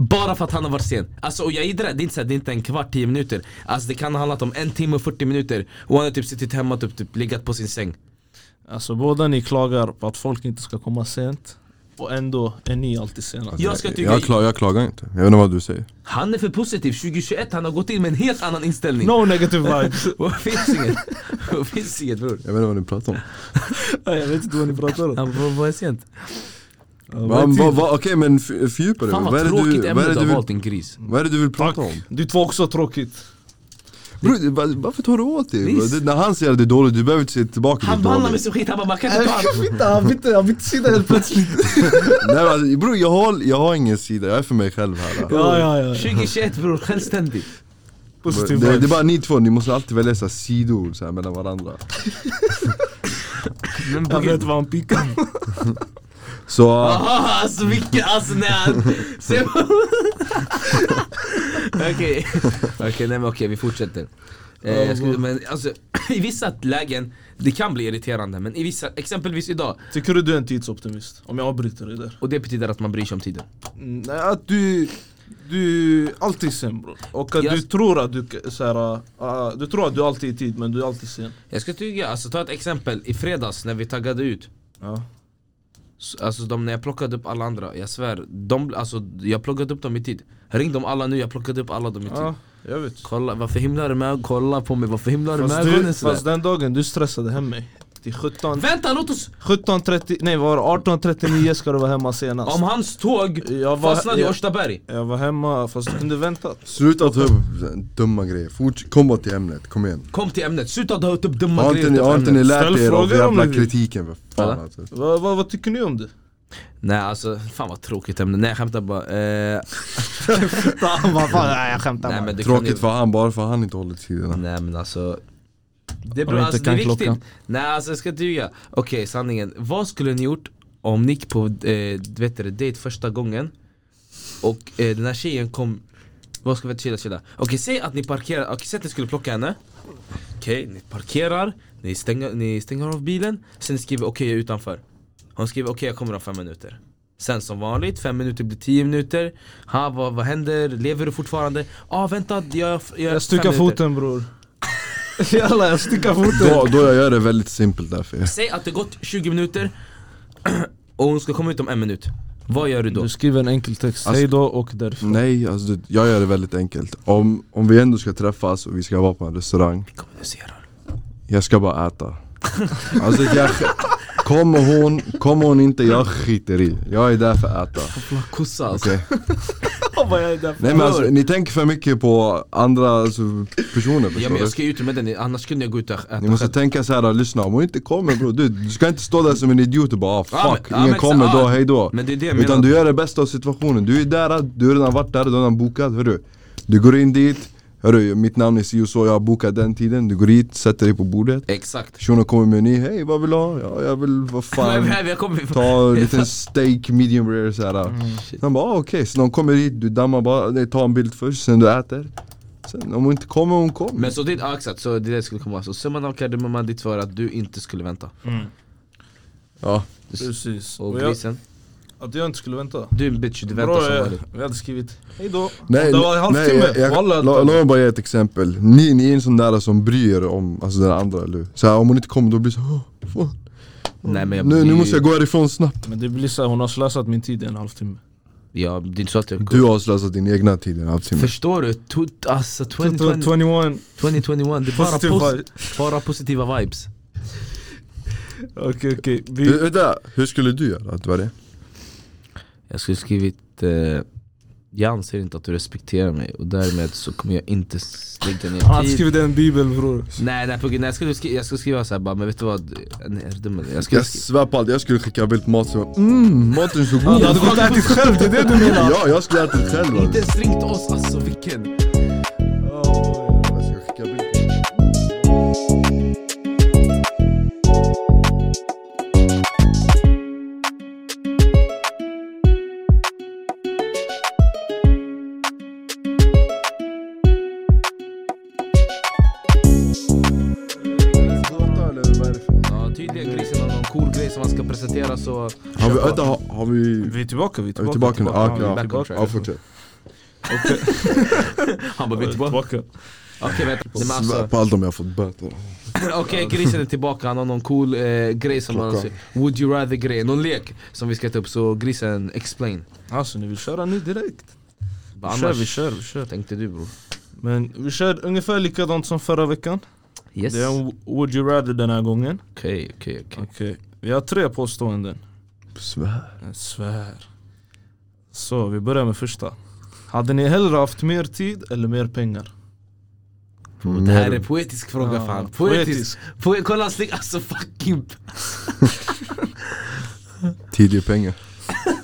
[SPEAKER 2] bara för att han har varit sen. Alltså och jag gillar det, det är inte, så här, det är inte en kvart, tio minuter. Alltså det kan ha handlat om en timme och 40 minuter och han har typ suttit hemma och typ, typ legat på sin säng.
[SPEAKER 3] Alltså båda ni klagar på att folk inte ska komma sent Och ändå är ni alltid sena
[SPEAKER 2] Jag ska tycka,
[SPEAKER 1] jag, kla, jag klagar inte, jag vet inte vad du säger
[SPEAKER 2] han är för positiv, 2021 han har gått in med en helt annan inställning.
[SPEAKER 3] No negative vibes
[SPEAKER 2] [laughs] Och finns inget, och finns inget bror.
[SPEAKER 1] Jag vet inte vad ni pratar om
[SPEAKER 3] Ja, Jag vet inte vad ni pratar om
[SPEAKER 2] Han bara, vad är sent?
[SPEAKER 3] Ja,
[SPEAKER 1] Va,
[SPEAKER 3] men
[SPEAKER 1] va,
[SPEAKER 3] tid.
[SPEAKER 1] va, Okej men f- fördjupa dig,
[SPEAKER 2] Fan
[SPEAKER 1] vad är
[SPEAKER 2] vad
[SPEAKER 1] det
[SPEAKER 2] tråkigt
[SPEAKER 1] du, vad
[SPEAKER 2] ämne
[SPEAKER 1] är det
[SPEAKER 2] du har
[SPEAKER 1] du vill,
[SPEAKER 2] valt din gris.
[SPEAKER 1] vad är det du vill prata om?
[SPEAKER 3] Du två också tråkigt
[SPEAKER 1] Bro, va- varför tar du åt dig?
[SPEAKER 2] Visst.
[SPEAKER 1] Det- När han säger att det är dåligt, du behöver inte säga tillbaka
[SPEAKER 2] Han
[SPEAKER 1] det är
[SPEAKER 2] behandlar mig
[SPEAKER 1] dåligt.
[SPEAKER 2] som skit, han bara man kan inte
[SPEAKER 1] [laughs]
[SPEAKER 2] ta hand-
[SPEAKER 3] Han bytte, han bytte sida helt plötsligt
[SPEAKER 1] Nej, men alltså, bro, jag, har, jag har ingen sida, jag är för mig själv här alltså.
[SPEAKER 3] Ja ja ja
[SPEAKER 2] 2021 bror, självständig.
[SPEAKER 3] Positiv
[SPEAKER 2] typ
[SPEAKER 1] det, det är
[SPEAKER 3] vibes
[SPEAKER 1] bara ni två, ni måste alltid välja så här, sidor så här, mellan varandra
[SPEAKER 2] Men på
[SPEAKER 3] Jag
[SPEAKER 2] gud.
[SPEAKER 3] vet vad han pikar
[SPEAKER 1] Så,
[SPEAKER 2] Aha, alltså vilken, alltså nej han...
[SPEAKER 3] [laughs]
[SPEAKER 2] se- [laughs] Okej, okej nej men okej vi fortsätter eh, jag skulle, men alltså, [clears throat] I vissa lägen, det kan bli irriterande men i vissa, exempelvis idag
[SPEAKER 3] [laughs] Tycker du du är en tidsoptimist? Om jag avbryter dig där
[SPEAKER 2] Och det betyder att man bryr sig om tiden
[SPEAKER 3] Mm, Nej, att du, du är alltid sen bror. Och att
[SPEAKER 2] Jag-
[SPEAKER 3] du tror att du, k- så här, äh, du tror att du alltid är i tid men du är alltid sen.
[SPEAKER 2] Jag ska tycka, alltså ta ett exempel, i fredags när vi taggade ut
[SPEAKER 3] Ja. typ.
[SPEAKER 2] s- Alltså de, när jag plockade upp alla andra, jag svär, de, alltså, jag plockade upp dem i tid Ring dem alla nu, jag plockade upp alla dem i tid
[SPEAKER 3] ja, jag vet.
[SPEAKER 2] Kolla, varför himlar du med, kolla på mig, varför himlar du med
[SPEAKER 3] Fast, du,
[SPEAKER 2] ögonen sådär?
[SPEAKER 3] fast den dagen du stressade hem mig. Till 17,
[SPEAKER 2] Vänta låt oss,
[SPEAKER 3] 17.30, nej vad var det? 18.39 ska du vara hemma senast.
[SPEAKER 2] om hans tåg
[SPEAKER 3] Jag var-
[SPEAKER 2] fastnade i
[SPEAKER 3] jag-
[SPEAKER 2] Årstaberg
[SPEAKER 3] Jag var hemma fast du kunde väntat.
[SPEAKER 1] sluta ta upp dumma grejer, Forts- kom bara till ämnet, kom igen
[SPEAKER 2] Kom till ämnet, sluta dra upp dumma
[SPEAKER 1] Har
[SPEAKER 2] grejer
[SPEAKER 1] inte ni,
[SPEAKER 2] utanför
[SPEAKER 1] har inte ni
[SPEAKER 2] ämnet.
[SPEAKER 1] lärt
[SPEAKER 3] Ställ
[SPEAKER 1] er av
[SPEAKER 3] frågor om
[SPEAKER 1] jävla
[SPEAKER 3] ni vill.
[SPEAKER 1] kritiken för fan
[SPEAKER 2] Ja.
[SPEAKER 1] alltså.
[SPEAKER 3] Va, va, vad tycker ni om det?
[SPEAKER 2] Nej alltså, fan vad tråkigt ämne, nej jag skämtar bara eh,
[SPEAKER 3] Vad fan, nej, jag skämtar
[SPEAKER 2] nej, men det
[SPEAKER 1] Tråkigt
[SPEAKER 2] kan
[SPEAKER 1] för han, bara för han inte håller tiderna
[SPEAKER 2] ju, Nej men alltså Det,
[SPEAKER 5] Om
[SPEAKER 2] beror,
[SPEAKER 5] jag
[SPEAKER 2] alltså,
[SPEAKER 5] inte
[SPEAKER 2] det är
[SPEAKER 5] kan
[SPEAKER 2] viktigt,
[SPEAKER 5] klockan.
[SPEAKER 2] nej alltså jag ska duga Okej sanningen, vad skulle ni gjort om ni gick på eh, vet du, det, dejt första gången och eh, den här tjejen kom Vad ska vi chilla chilla? Okej säg att ni parkerar, okej säg att ni skulle plocka henne Okej, ni parkerar, ni stänger, ni stänger av bilen, sen skriver okej jag är utanför Hon skriver okej jag kommer om fem minuter Sen som vanligt, fem minuter blir tio minuter ha, vad, vad händer? Lever du fortfarande? Ah vänta, jag, jag,
[SPEAKER 3] Jag stukar
[SPEAKER 2] fem minuter.
[SPEAKER 3] foten bror. [laughs] Jalla jag stukar foten.
[SPEAKER 1] då, då jag gör det väldigt simpelt där för er
[SPEAKER 2] Säg att det gått 20 minuter och hon ska komma ut om en minut Vad gör du då?
[SPEAKER 3] Du skriver en enkel text,
[SPEAKER 1] Alltså-
[SPEAKER 3] hej då och därifrån.
[SPEAKER 1] Nej, alltså, det- jag gör det väldigt enkelt om, om vi ändå ska träffas och vi ska vara på en restaurang
[SPEAKER 2] Kommunicerar
[SPEAKER 1] Jag ska bara
[SPEAKER 3] [laughs]
[SPEAKER 1] äta Alltså jag, kommer hon, kommer hon inte, jag skiter i Jag är där för att äta
[SPEAKER 2] Kossa alltså
[SPEAKER 1] Okej.
[SPEAKER 3] [laughs] Vad jag är där för.
[SPEAKER 1] Nej men alltså, ni tänker för mycket på andra alltså, personer
[SPEAKER 2] Ja
[SPEAKER 1] förstår
[SPEAKER 2] men
[SPEAKER 1] du?
[SPEAKER 2] jag ska ju ut med den, annars kunde jag gå ut och äta
[SPEAKER 1] Ni måste
[SPEAKER 2] själv.
[SPEAKER 1] tänka så här, lyssna om hon inte kommer bro, du, du ska inte stå där som en idiot och bara ah, fuck,
[SPEAKER 2] Ja, men- ja,
[SPEAKER 1] ingen
[SPEAKER 2] men-
[SPEAKER 1] kommer
[SPEAKER 2] ja,
[SPEAKER 1] då, hej då
[SPEAKER 2] Men det är det jag menar
[SPEAKER 1] Utan du gör det bästa av situationen, du är där, du har redan varit där, du har redan bokat, hörru Du går in dit, hörru mitt namn är si och så, jag har bokat den tiden. Du går dit, sätter dig på bordet.
[SPEAKER 2] Exakt.
[SPEAKER 1] Shunon kommer med en ny, hej vad vill du ha? Ja, jag vill,
[SPEAKER 2] [laughs]
[SPEAKER 1] vad fan.
[SPEAKER 2] jag kommer
[SPEAKER 1] Ta en liten steak, medium rare såhär
[SPEAKER 2] Mm,
[SPEAKER 1] Han bara ah, okej, så de kommer hit, du dammar bara, nej, ta en bild först, sen du äter Sen om hon inte kommer, hon kommer
[SPEAKER 2] Men så det, ja, exakt, så det där skulle komma. Så summan av kardemumman ditt var att du inte skulle vänta.
[SPEAKER 1] Ja,
[SPEAKER 3] Precis.
[SPEAKER 2] Och
[SPEAKER 3] Och jag,
[SPEAKER 2] grisen,
[SPEAKER 3] att jag inte skulle vänta.
[SPEAKER 2] du är en bitch, du väntar
[SPEAKER 3] Bra,
[SPEAKER 2] som
[SPEAKER 3] eh,
[SPEAKER 2] vanligt.
[SPEAKER 3] vi hade skrivit hejdå.
[SPEAKER 1] nej,
[SPEAKER 3] det var en
[SPEAKER 1] nej
[SPEAKER 3] halvtimme.
[SPEAKER 1] jag, jag,
[SPEAKER 3] Walla,
[SPEAKER 1] la- låt mig bara ge ett exempel Ni, ni är en sån där som bryr er om alltså, den andra, eller hur? Så här, om hon inte kommer då blir det såhär, oh, fan.
[SPEAKER 2] Nej men jag
[SPEAKER 1] nu, nu
[SPEAKER 2] blir-
[SPEAKER 1] måste jag gå härifrån snabbt
[SPEAKER 3] Men det blir såhär, hon har slösat min tid i en halvtimme.
[SPEAKER 2] Ja, det är inte så att jag...
[SPEAKER 1] Du har slösat din egna tid i en halvtimme
[SPEAKER 2] Förstår du? To, alltså 2020,
[SPEAKER 3] 21.
[SPEAKER 2] 2021, det är bara,
[SPEAKER 3] Positiva
[SPEAKER 2] pos,
[SPEAKER 3] vibe.
[SPEAKER 2] bara positiva vibes.
[SPEAKER 3] Okej okej.
[SPEAKER 1] Du,
[SPEAKER 3] Vi-
[SPEAKER 1] Vänta, hur skulle du göra att vara det?
[SPEAKER 2] Jag skulle skrivit eh, Jag anser inte att du respekterar mig och därmed så kommer jag inte s- lägga
[SPEAKER 3] Han hade
[SPEAKER 2] ner tid
[SPEAKER 3] skrivit en bibel bror.
[SPEAKER 2] Nej nej, på, nej jag, skulle skriva, jag skulle skriva såhär bara, men vet du vad? Nej, är du dum eller? Jag skulle
[SPEAKER 1] Jag
[SPEAKER 2] skriva
[SPEAKER 1] svär på allt, jag skulle skicka en bild på maten och bara, mm, maten är så god!
[SPEAKER 3] Du hade gått och ätit själv, det är det du menar?
[SPEAKER 1] Ja, jag skulle ätit själv
[SPEAKER 2] Inte
[SPEAKER 1] alltså.
[SPEAKER 2] ens ringt oss alltså, vilken?
[SPEAKER 1] Jag ska skicka bild
[SPEAKER 2] Ja tydligen grisen har någon cool grej som han ska presentera så
[SPEAKER 1] Har vi, vänta, har, har vi...
[SPEAKER 3] Vi är tillbaka, vi är
[SPEAKER 1] Är vi
[SPEAKER 3] tillbaka.
[SPEAKER 1] tillbaka nu? Ah,
[SPEAKER 2] vi är
[SPEAKER 1] okej,
[SPEAKER 2] back
[SPEAKER 1] ja,
[SPEAKER 2] on track.
[SPEAKER 1] ja, fortsätt.
[SPEAKER 2] Han bara
[SPEAKER 3] Vi
[SPEAKER 2] vi
[SPEAKER 3] är
[SPEAKER 2] är tillbaka
[SPEAKER 3] tillbaka.
[SPEAKER 2] Okej vänta, nej, men
[SPEAKER 1] Svär
[SPEAKER 2] alltså,
[SPEAKER 1] på allt om jag har fått böter.
[SPEAKER 2] Okej grisen är tillbaka, han har någon cool eh, grej som han
[SPEAKER 1] Klockan.
[SPEAKER 2] Would you rather grej, någon lek som vi ska ta upp så grisen explain
[SPEAKER 3] Alltså ni vill köra nu direkt?
[SPEAKER 2] Bara,
[SPEAKER 3] Vi
[SPEAKER 2] Annars
[SPEAKER 3] kör, vi kör, vi kör.
[SPEAKER 2] tänkte du bror
[SPEAKER 3] Men vi kör ungefär likadant som förra veckan.
[SPEAKER 2] Yes,
[SPEAKER 3] Det är
[SPEAKER 2] okej
[SPEAKER 3] en would you rather den här gången.
[SPEAKER 2] okej okej
[SPEAKER 3] Okej. eh, Vi har tre påståenden.
[SPEAKER 1] Svär.
[SPEAKER 3] Jag svär. Så vi börjar med första. Hade ni hellre haft mer tid eller mer pengar?
[SPEAKER 2] Det här är poetisk fråga fan, poetisk, poetisk. Kolla han slick, alltså fucking
[SPEAKER 1] Tidig pengar.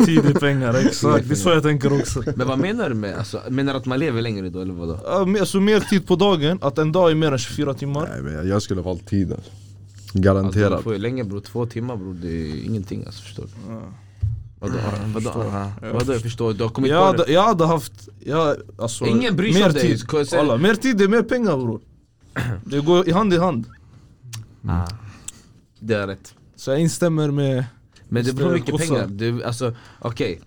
[SPEAKER 3] Tid är [laughs] pengar, exakt. Det är så jag tänker också.
[SPEAKER 2] Men vad menar du med, alltså, menar du att man lever längre då eller vadå?
[SPEAKER 3] Ja, men Alltså mer tid på dagen, att en dag är mer än 24 timmar.
[SPEAKER 1] Nej men jag- jag skulle ha valt tid alltså.
[SPEAKER 2] Alltså, man
[SPEAKER 1] Garanterat.
[SPEAKER 2] får ju länge bror, två timmar bror det är ingenting alltså förstår du?
[SPEAKER 3] Ja.
[SPEAKER 2] Vadå? vadå? Aha.
[SPEAKER 3] Jag
[SPEAKER 2] vadå jag förstår, du har kommit
[SPEAKER 3] Jag
[SPEAKER 2] på det?
[SPEAKER 3] hade, jag hade haft, jag, alltså,
[SPEAKER 2] Ingen bryr sig
[SPEAKER 3] mer
[SPEAKER 2] om dig.
[SPEAKER 3] tid.
[SPEAKER 2] Ska jag säga-
[SPEAKER 3] Alla, mer tid är mer pengar [clears throat] bror. Det går i hand i hand.
[SPEAKER 2] Ah. Det är rätt
[SPEAKER 3] Så jag instämmer med...
[SPEAKER 2] Men det
[SPEAKER 3] Just
[SPEAKER 2] beror
[SPEAKER 3] det,
[SPEAKER 2] på mycket
[SPEAKER 3] kossan.
[SPEAKER 2] pengar, du, alltså okej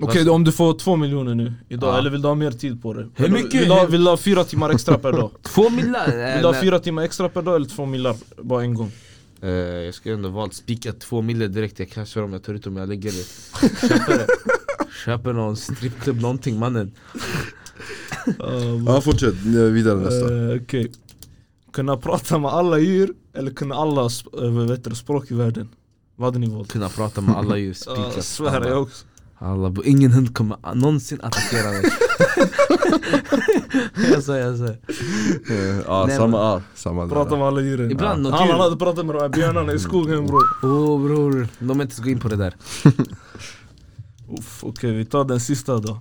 [SPEAKER 3] Okej om du får två miljoner nu idag,
[SPEAKER 2] Ja.
[SPEAKER 3] eller vill du ha mer tid på det?
[SPEAKER 2] Hur
[SPEAKER 3] Vill du-
[SPEAKER 2] mycket?
[SPEAKER 3] Vill du ha, vill du ha fyra timmar extra per [laughs] dag?
[SPEAKER 2] Två millar? eh,
[SPEAKER 3] Vill du ha
[SPEAKER 2] nej.
[SPEAKER 3] fyra timmar extra per dag eller två millar bara en gång?
[SPEAKER 2] Eh, jag skulle ändå valt spika två millar direkt, jag kanske om jag tar ut dem, jag lägger
[SPEAKER 3] [laughs]
[SPEAKER 2] det Köper, köper någon strippklubb, någonting mannen
[SPEAKER 1] Ja fortsätt, Nu är vi vidare nästa.
[SPEAKER 3] Eh, Okej. Kunna prata med alla djur eller kunna alla sp- eh, vad heter det, språk i världen? Vad hade ni valt?
[SPEAKER 2] Kunna prata med alla djur,
[SPEAKER 3] Ja,
[SPEAKER 2] spika
[SPEAKER 3] svär jag också.
[SPEAKER 2] Alla, bo- ingen hund kommer a- någonsin attackera mig
[SPEAKER 3] [laughs]
[SPEAKER 2] Jag säger, jag säger
[SPEAKER 1] Eh, Ja,
[SPEAKER 2] Nej,
[SPEAKER 1] samma, ja, samma där.
[SPEAKER 3] Prata med alla djuren.
[SPEAKER 2] Ibland något
[SPEAKER 3] Han
[SPEAKER 2] djur.
[SPEAKER 3] han hade pratat med de här
[SPEAKER 2] Mm.
[SPEAKER 3] björnarna i skogen bror.
[SPEAKER 2] Åh oh, bror, de inte ska gå in på det där
[SPEAKER 3] Uff, Okej vi tar den sista då.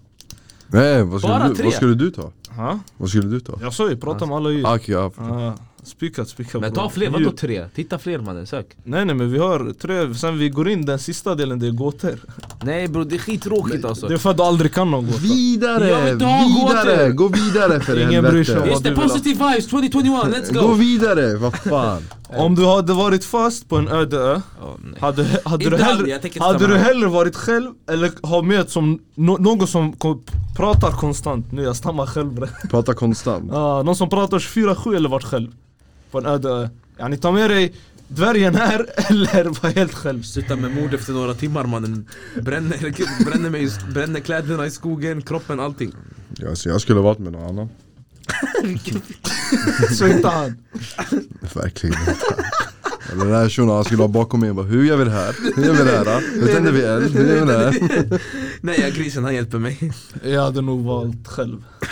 [SPEAKER 1] Nej, vad
[SPEAKER 2] Bara
[SPEAKER 1] skulle, du,
[SPEAKER 2] tre.
[SPEAKER 1] vad skulle du ta?
[SPEAKER 3] Ha?
[SPEAKER 1] Vad skulle du ta?
[SPEAKER 3] Jag sa ju prata med alla djur.
[SPEAKER 1] Ah, Okej, ja.
[SPEAKER 3] Ah, spikat, spikat
[SPEAKER 2] Men
[SPEAKER 3] bror.
[SPEAKER 2] ta fler,
[SPEAKER 3] Djur.
[SPEAKER 2] vadå tre? Titta fler mannen, sök
[SPEAKER 3] Nej nej men vi har tre, sen vi går in den sista delen det är gåtor
[SPEAKER 2] Nej bror det är skittråkigt alltså
[SPEAKER 3] Det är för att du aldrig kan någon gåta
[SPEAKER 2] Jag vill
[SPEAKER 1] Vidare!
[SPEAKER 2] inte ha
[SPEAKER 1] Vidare!
[SPEAKER 2] gåtor.
[SPEAKER 1] Gå vidare för
[SPEAKER 3] Ingen bryr sig om
[SPEAKER 1] helvete!
[SPEAKER 2] Just
[SPEAKER 3] vad
[SPEAKER 2] det,
[SPEAKER 3] du vill ha.
[SPEAKER 2] positive vibes 2021, let's
[SPEAKER 1] Gå
[SPEAKER 2] go!
[SPEAKER 1] vidare, vad fan!
[SPEAKER 3] Om du hade varit fast på en öde ö
[SPEAKER 2] Åh, nej.
[SPEAKER 3] Hade, hade,
[SPEAKER 2] Inte aldrig,
[SPEAKER 3] du, hellre,
[SPEAKER 2] jag tänker inte
[SPEAKER 3] hade
[SPEAKER 2] stanna
[SPEAKER 3] du
[SPEAKER 2] här.
[SPEAKER 3] hellre varit själv eller ha med som, nå- någon som kom, pratar konstant? Nu jag stammar själv [laughs] bre.
[SPEAKER 1] Prata konstant.
[SPEAKER 3] Ah, Någon som pratar 24-7 eller varit själv På en öde ö Yani ta med dig dvärgen här [laughs] eller vara helt själv
[SPEAKER 2] Sluta med mord efter några timmar mannen bränner, [laughs] bränner, mig, i- bränner kläderna i skogen, kroppen,
[SPEAKER 3] [laughs]
[SPEAKER 2] allting
[SPEAKER 1] Ja, så jag skulle ha varit med någon annan.
[SPEAKER 3] Så inte han
[SPEAKER 1] Verkligen [laughs] inte. Eller den här shunon, han skulle ha bakom mig och bara Hur gör vi det här? Hur gör vi det här? då? Hur tänder vi eld? Hur gör vi det [laughs] här?
[SPEAKER 2] Nej jag grisen han hjälper mig
[SPEAKER 3] Jag hade nog valt själv Jag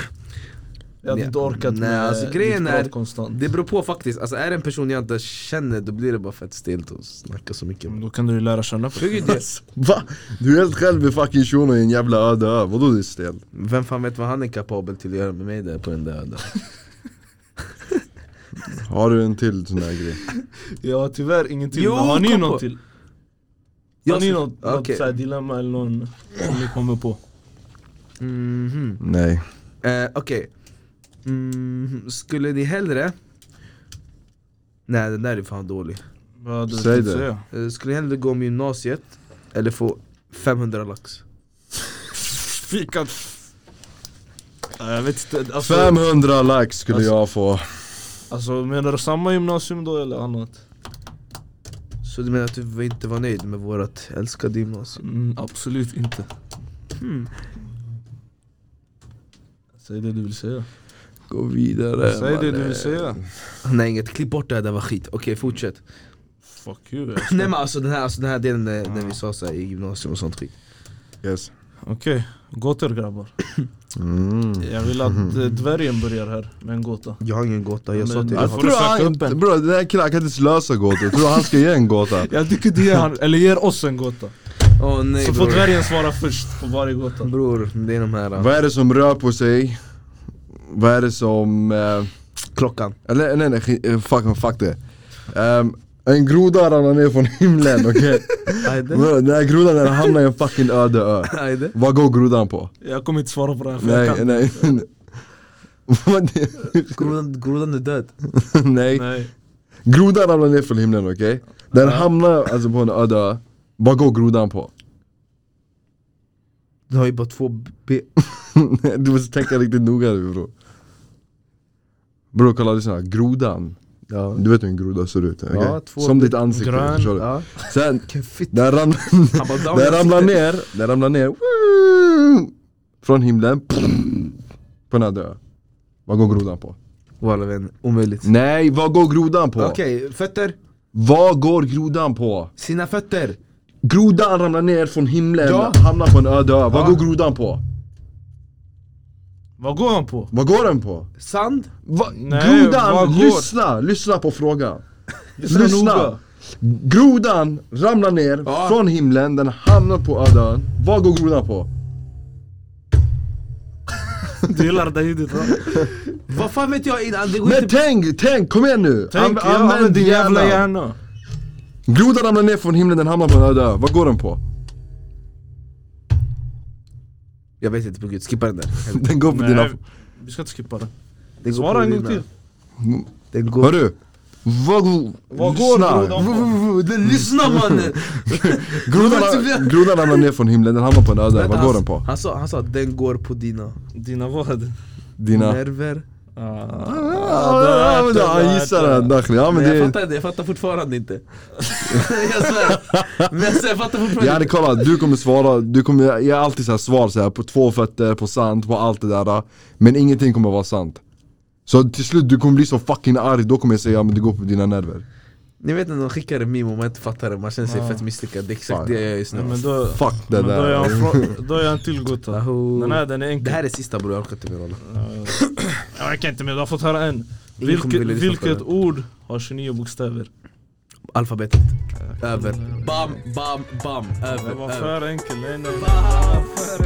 [SPEAKER 3] hade
[SPEAKER 2] Ja.
[SPEAKER 3] inte orkat
[SPEAKER 2] Nej,
[SPEAKER 3] med
[SPEAKER 2] alltså, grejen
[SPEAKER 3] ditt prat
[SPEAKER 2] är-
[SPEAKER 3] konstant.
[SPEAKER 2] Det beror på faktiskt, alltså är det en person jag inte känner då blir det bara fett stelt och snacka så mycket
[SPEAKER 3] Mm.
[SPEAKER 4] Då kan du ju lära känna på
[SPEAKER 2] Hur är
[SPEAKER 3] Alltså.
[SPEAKER 2] det?
[SPEAKER 1] Va? Du är helt själv i fucking shunon i en jävla öde ö, vadå det är stel?
[SPEAKER 2] Vem fan vet vad han är kapabel till att göra med mig där på den där öden?
[SPEAKER 1] Har du en till sån här grej?
[SPEAKER 3] Jag har tyvärr ingen till,
[SPEAKER 2] Jo,
[SPEAKER 3] men har ni
[SPEAKER 2] kom
[SPEAKER 3] någon
[SPEAKER 2] på.
[SPEAKER 3] till? Har
[SPEAKER 2] Jag
[SPEAKER 3] ni
[SPEAKER 2] ska-
[SPEAKER 3] något, något
[SPEAKER 2] okej.
[SPEAKER 3] så här dilemma eller någon som ni kommer på?
[SPEAKER 2] Mhm.
[SPEAKER 1] Nej
[SPEAKER 2] Eh, Okej, Mhm. skulle ni hellre... Nej den där är fan dålig
[SPEAKER 3] Vad
[SPEAKER 1] Säg
[SPEAKER 3] tänkte
[SPEAKER 1] det.
[SPEAKER 3] säga?
[SPEAKER 2] Eh, Skulle ni hellre gå om gymnasiet eller få 500 lax?
[SPEAKER 3] Fika! Ja, Jag vet inte, alltså,
[SPEAKER 1] 500 likes skulle jag få
[SPEAKER 3] alltså menar du samma gymnasium då eller annat?
[SPEAKER 2] Så du menar att du inte var nöjd med vårat älskade gymnasium?
[SPEAKER 3] Mm, absolut inte Säg det du vill säga
[SPEAKER 2] Gå vidare
[SPEAKER 3] Säg det du vill säga
[SPEAKER 2] Nej inget, klipp bort det här, det var skit. Okej fortsätt
[SPEAKER 3] Fuck you [laughs] jag ska-
[SPEAKER 2] Nej men alltså den här, alltså, den här delen eh, när vi sa såhär i gymnasium och sånt skit
[SPEAKER 1] Yes
[SPEAKER 3] Okej, gåtor grabbar
[SPEAKER 1] mm.
[SPEAKER 3] Jag vill att [laughs] eh, dvärgen börjar här med en gåta
[SPEAKER 2] Jag har ingen gåta, jag
[SPEAKER 3] Ja,
[SPEAKER 2] sa
[SPEAKER 3] men-
[SPEAKER 2] till dig
[SPEAKER 3] Ja,
[SPEAKER 1] Jag
[SPEAKER 2] att
[SPEAKER 3] får
[SPEAKER 1] tror
[SPEAKER 3] du söka upp
[SPEAKER 1] han,
[SPEAKER 3] en?
[SPEAKER 1] bro, den här killen kan inte lösa gåtor, tror du han ska ge en gåta?
[SPEAKER 3] Jag tycker du ger han, [laughs] eller ger oss en gåta
[SPEAKER 2] Åh nej
[SPEAKER 3] Så får
[SPEAKER 2] bror.
[SPEAKER 3] dvärgen svara först på varje gåta
[SPEAKER 2] bror, det är de här eh,
[SPEAKER 1] Vad är det som rör på sig? Vad är det som... Eh,
[SPEAKER 2] klockan
[SPEAKER 1] eller nej nej, skit- eh, fuck, fuck det Ehm, En groda ramlar ner från himlen,
[SPEAKER 3] [laughs]
[SPEAKER 1] okej?
[SPEAKER 2] Ajde,
[SPEAKER 1] Bro, Den här grodan den hamnar i en fucking öde ö
[SPEAKER 2] ajde
[SPEAKER 1] Vad går grodan på?
[SPEAKER 3] Jag kommer inte svara på det här för jag
[SPEAKER 1] Nej,
[SPEAKER 3] kan
[SPEAKER 1] nej [laughs] Vad [laughs] det-
[SPEAKER 2] Grodan, grodan är död
[SPEAKER 1] Nej,
[SPEAKER 3] Nej.
[SPEAKER 1] grodan ramlar ner från himlen okej? Den hamnar alltså på en öde ö, vad går grodan på? [laughs]
[SPEAKER 2] Du har ju bara två ben
[SPEAKER 1] du måste tänka riktigt noga nu bror Bror kolla lyssna, grodan
[SPEAKER 2] Ja,
[SPEAKER 1] Du vet hur en groda ser ut? okej?
[SPEAKER 2] Ja, två
[SPEAKER 1] Som
[SPEAKER 2] bit-
[SPEAKER 1] ditt ansikte,
[SPEAKER 4] grön,
[SPEAKER 1] förstår du?
[SPEAKER 2] ja.
[SPEAKER 1] Sen,
[SPEAKER 2] Vilken fitt
[SPEAKER 1] den
[SPEAKER 2] [laughs]
[SPEAKER 1] ramlar,
[SPEAKER 2] Han bara, "Dam,
[SPEAKER 1] den
[SPEAKER 2] jag
[SPEAKER 1] ramlar
[SPEAKER 2] sitter."
[SPEAKER 1] ner, den ramlar ner Från himlen, på en öde ö Vad går grodan på?
[SPEAKER 2] Walla vän, omöjligt
[SPEAKER 1] Nej, vad går grodan på?
[SPEAKER 2] Okej, fötter,
[SPEAKER 1] Vad går grodan på?
[SPEAKER 2] sina fötter
[SPEAKER 1] Grodan ramlar ner från himlen,
[SPEAKER 2] Ja.
[SPEAKER 1] hamnar på en öde ö. Vad
[SPEAKER 2] Ja.
[SPEAKER 1] går grodan på?
[SPEAKER 3] Vad går han på?
[SPEAKER 1] Vad går den på?
[SPEAKER 2] Sand,
[SPEAKER 1] Va?
[SPEAKER 3] Nej,
[SPEAKER 1] grodan,
[SPEAKER 3] vad går-
[SPEAKER 1] lyssna! Lyssna på frågan.
[SPEAKER 3] Lyssna noga.
[SPEAKER 1] Grodan ramlar ner
[SPEAKER 2] Ja.
[SPEAKER 1] från himlen, den hamnar på öde ön. Vad går grodan på?
[SPEAKER 3] Du gillar det ljudet va?
[SPEAKER 2] vad fan vet jag innan? Det går
[SPEAKER 1] Men
[SPEAKER 2] inte
[SPEAKER 1] tänk, tänk, kom igen nu!
[SPEAKER 3] Tänk,
[SPEAKER 1] Anv-
[SPEAKER 3] jag använder din jävla hjärna
[SPEAKER 1] Grodan ramlar ner från himlen, den hamnar på en öde ö. Vad går den
[SPEAKER 3] [laughs]
[SPEAKER 1] på?
[SPEAKER 2] typ- Jag vet inte på gud, skippa den där
[SPEAKER 1] Den går på dina...
[SPEAKER 3] Nej, vi ska inte skippa det
[SPEAKER 2] Den går på
[SPEAKER 3] Svara en gång
[SPEAKER 2] dina-
[SPEAKER 3] till
[SPEAKER 2] Den går
[SPEAKER 1] Hörru! Vad går...
[SPEAKER 3] Vad går
[SPEAKER 1] lyssna. [laughs]
[SPEAKER 3] grodan på?
[SPEAKER 1] V- v- v-
[SPEAKER 2] Lyssna
[SPEAKER 3] [laughs]
[SPEAKER 1] [laughs]
[SPEAKER 2] mannen!
[SPEAKER 1] Grodan, grodan ramlar ner från himlen, den hamnar på en öde ö. Vad går den på?
[SPEAKER 2] Han sa, han sa den går på dina
[SPEAKER 3] Dina vad? Ah.
[SPEAKER 1] Dina...
[SPEAKER 2] nerver
[SPEAKER 1] Ja, men då, Han gissar den, Dakhli. Ja men
[SPEAKER 2] Men jag
[SPEAKER 1] det...
[SPEAKER 2] fattar inte, jag fattar fortfarande inte [laughs] Jag svär, men jag, svär, jag fattar
[SPEAKER 1] Jag
[SPEAKER 2] fortfarande
[SPEAKER 1] hade
[SPEAKER 2] inte
[SPEAKER 1] kollat, du kommer svara, du kommer ge alltid så här svar så här, på två fötter, på sant, på allt det där Men ingenting kommer vara sant Så till slut, du kommer bli så fucking arg, då kommer jag säga men det går på dina nerver
[SPEAKER 2] Ni vet när de skickar en meme och man inte fattar det, man känner sig fett misslyckad Det är
[SPEAKER 1] Fan.
[SPEAKER 2] exakt det jag gör just
[SPEAKER 3] Nej,
[SPEAKER 2] nu
[SPEAKER 3] men då,
[SPEAKER 1] Fuck det
[SPEAKER 3] men då, är jag
[SPEAKER 1] där
[SPEAKER 3] en frå- då är jag en till gåta
[SPEAKER 2] Aho.
[SPEAKER 3] Den här den är
[SPEAKER 2] Det
[SPEAKER 3] enkel
[SPEAKER 2] här är sista bror, jag orkar inte mer hålla
[SPEAKER 3] Ja, Jag kan inte mer, du har fått höra en
[SPEAKER 2] Ingen kommer
[SPEAKER 3] Vilket,
[SPEAKER 2] vilja lyssna på
[SPEAKER 3] vilket
[SPEAKER 2] det.
[SPEAKER 3] ord har 29 bokstäver?
[SPEAKER 2] Alfabetet, över Bam, bam, bam,
[SPEAKER 3] Det
[SPEAKER 2] över,
[SPEAKER 3] var
[SPEAKER 2] över
[SPEAKER 3] för enkel, nej nej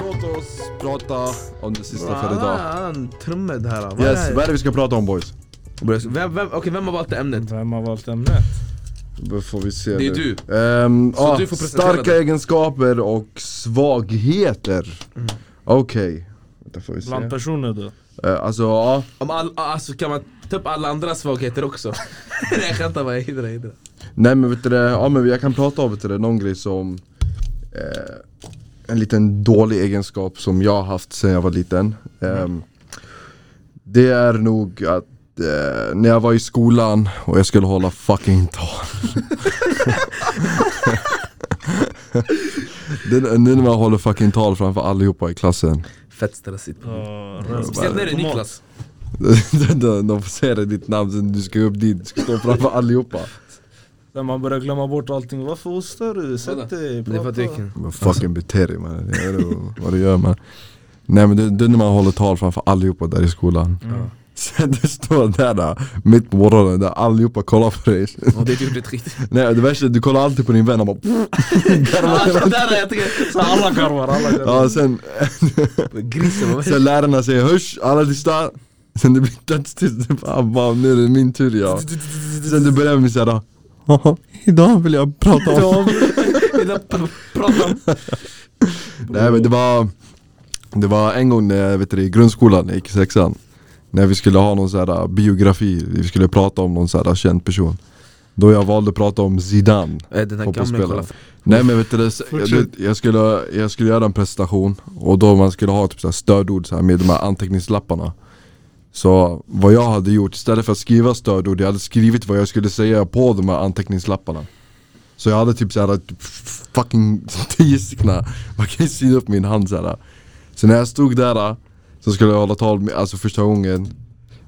[SPEAKER 1] Låt oss prata om det sista för idag
[SPEAKER 2] Fan, trummor det här vad är det
[SPEAKER 1] Yes,
[SPEAKER 2] här?
[SPEAKER 1] vad är det vi ska prata om boys?
[SPEAKER 2] Vem, vem, okej, vem har valt det ämnet?
[SPEAKER 3] Vem har valt ämnet?
[SPEAKER 1] Då får vi se
[SPEAKER 2] Det är
[SPEAKER 1] nu.
[SPEAKER 2] du.
[SPEAKER 1] Ehm,
[SPEAKER 2] Så
[SPEAKER 1] ah,
[SPEAKER 2] du får presentera
[SPEAKER 1] starka
[SPEAKER 2] dig.
[SPEAKER 1] egenskaper och svagheter
[SPEAKER 2] Mm.
[SPEAKER 1] Okej, vänta får vi se
[SPEAKER 3] Bland personer då?
[SPEAKER 1] Eh, Alltså ja,
[SPEAKER 2] Om all, alltså, kan man ta upp alla andra svagheter också? Nej jag skämtar bara, hidra hidra
[SPEAKER 1] Nej men vet du det, ja men jag kan prata om vet du det, någon grej som eh, En liten dålig egenskap som jag har haft sedan jag var liten Ehm, Det är nog att eh, när jag var i skolan och jag skulle hålla fucking tal. [laughs] det, nu när man håller fucking tal framför allihopa i klassen. [laughs]
[SPEAKER 2] Fett stressigt.
[SPEAKER 6] Speciellt när det är Niklas.
[SPEAKER 1] de, de, de får säga det, ditt namn sen du ska upp dit, du ska stå framför allihopa.
[SPEAKER 3] Där man börjar glömma bort allting. Varför hostar du? Sätt dig,
[SPEAKER 2] Det är för att du är
[SPEAKER 3] eh, prata.
[SPEAKER 2] kung.
[SPEAKER 1] Men fucking bete dig man, det är det- vad du gör man. Nej men det, det är när man håller tal framför allihopa där i skolan. Sen du står där, då, mitt på morgonen där allihopa kollar på dig.
[SPEAKER 2] Och det är typ ditt skit.
[SPEAKER 1] Nej det värsta är att du kollar alltid på din vän och bara garvar hela tiden.
[SPEAKER 2] [laughs] Där har jag tänkt.
[SPEAKER 3] Så alla garvar, alla garvar.
[SPEAKER 1] Ja sen,
[SPEAKER 2] Grisen var
[SPEAKER 1] sen lärarna säger hörs, alla tysta. Sen det blir dödstyst, Du bara, "Ah, nu är det min tur ja. Sen du börjar med såhär, "Jaha, idag vill jag prata om
[SPEAKER 2] Prata
[SPEAKER 1] Nej men det var Det var en gång när jag vet du, i grundskolan, jag gick i sexan När vi skulle ha någon sån här äh, biografi, vi skulle prata om någon sån här äh, känd person Då jag valde att prata om Zidane
[SPEAKER 2] Äh, Den här gamla
[SPEAKER 1] Fotbollsspelare.
[SPEAKER 2] kolla.
[SPEAKER 1] Nej men vet du, det, jag, jag, skulle, jag skulle göra en presentation och då man skulle ha typ så här stödord så här med de här anteckningslapparna Så vad jag hade gjort, istället för att skriva stödord, jag hade skrivit vad jag skulle säga på de här anteckningslapparna Så jag hade typ såhär typ f- fucking [laughs] tio stycken, man kan ju syna upp min hand såhär Så när jag stod där så skulle jag hålla tal, med, alltså första gången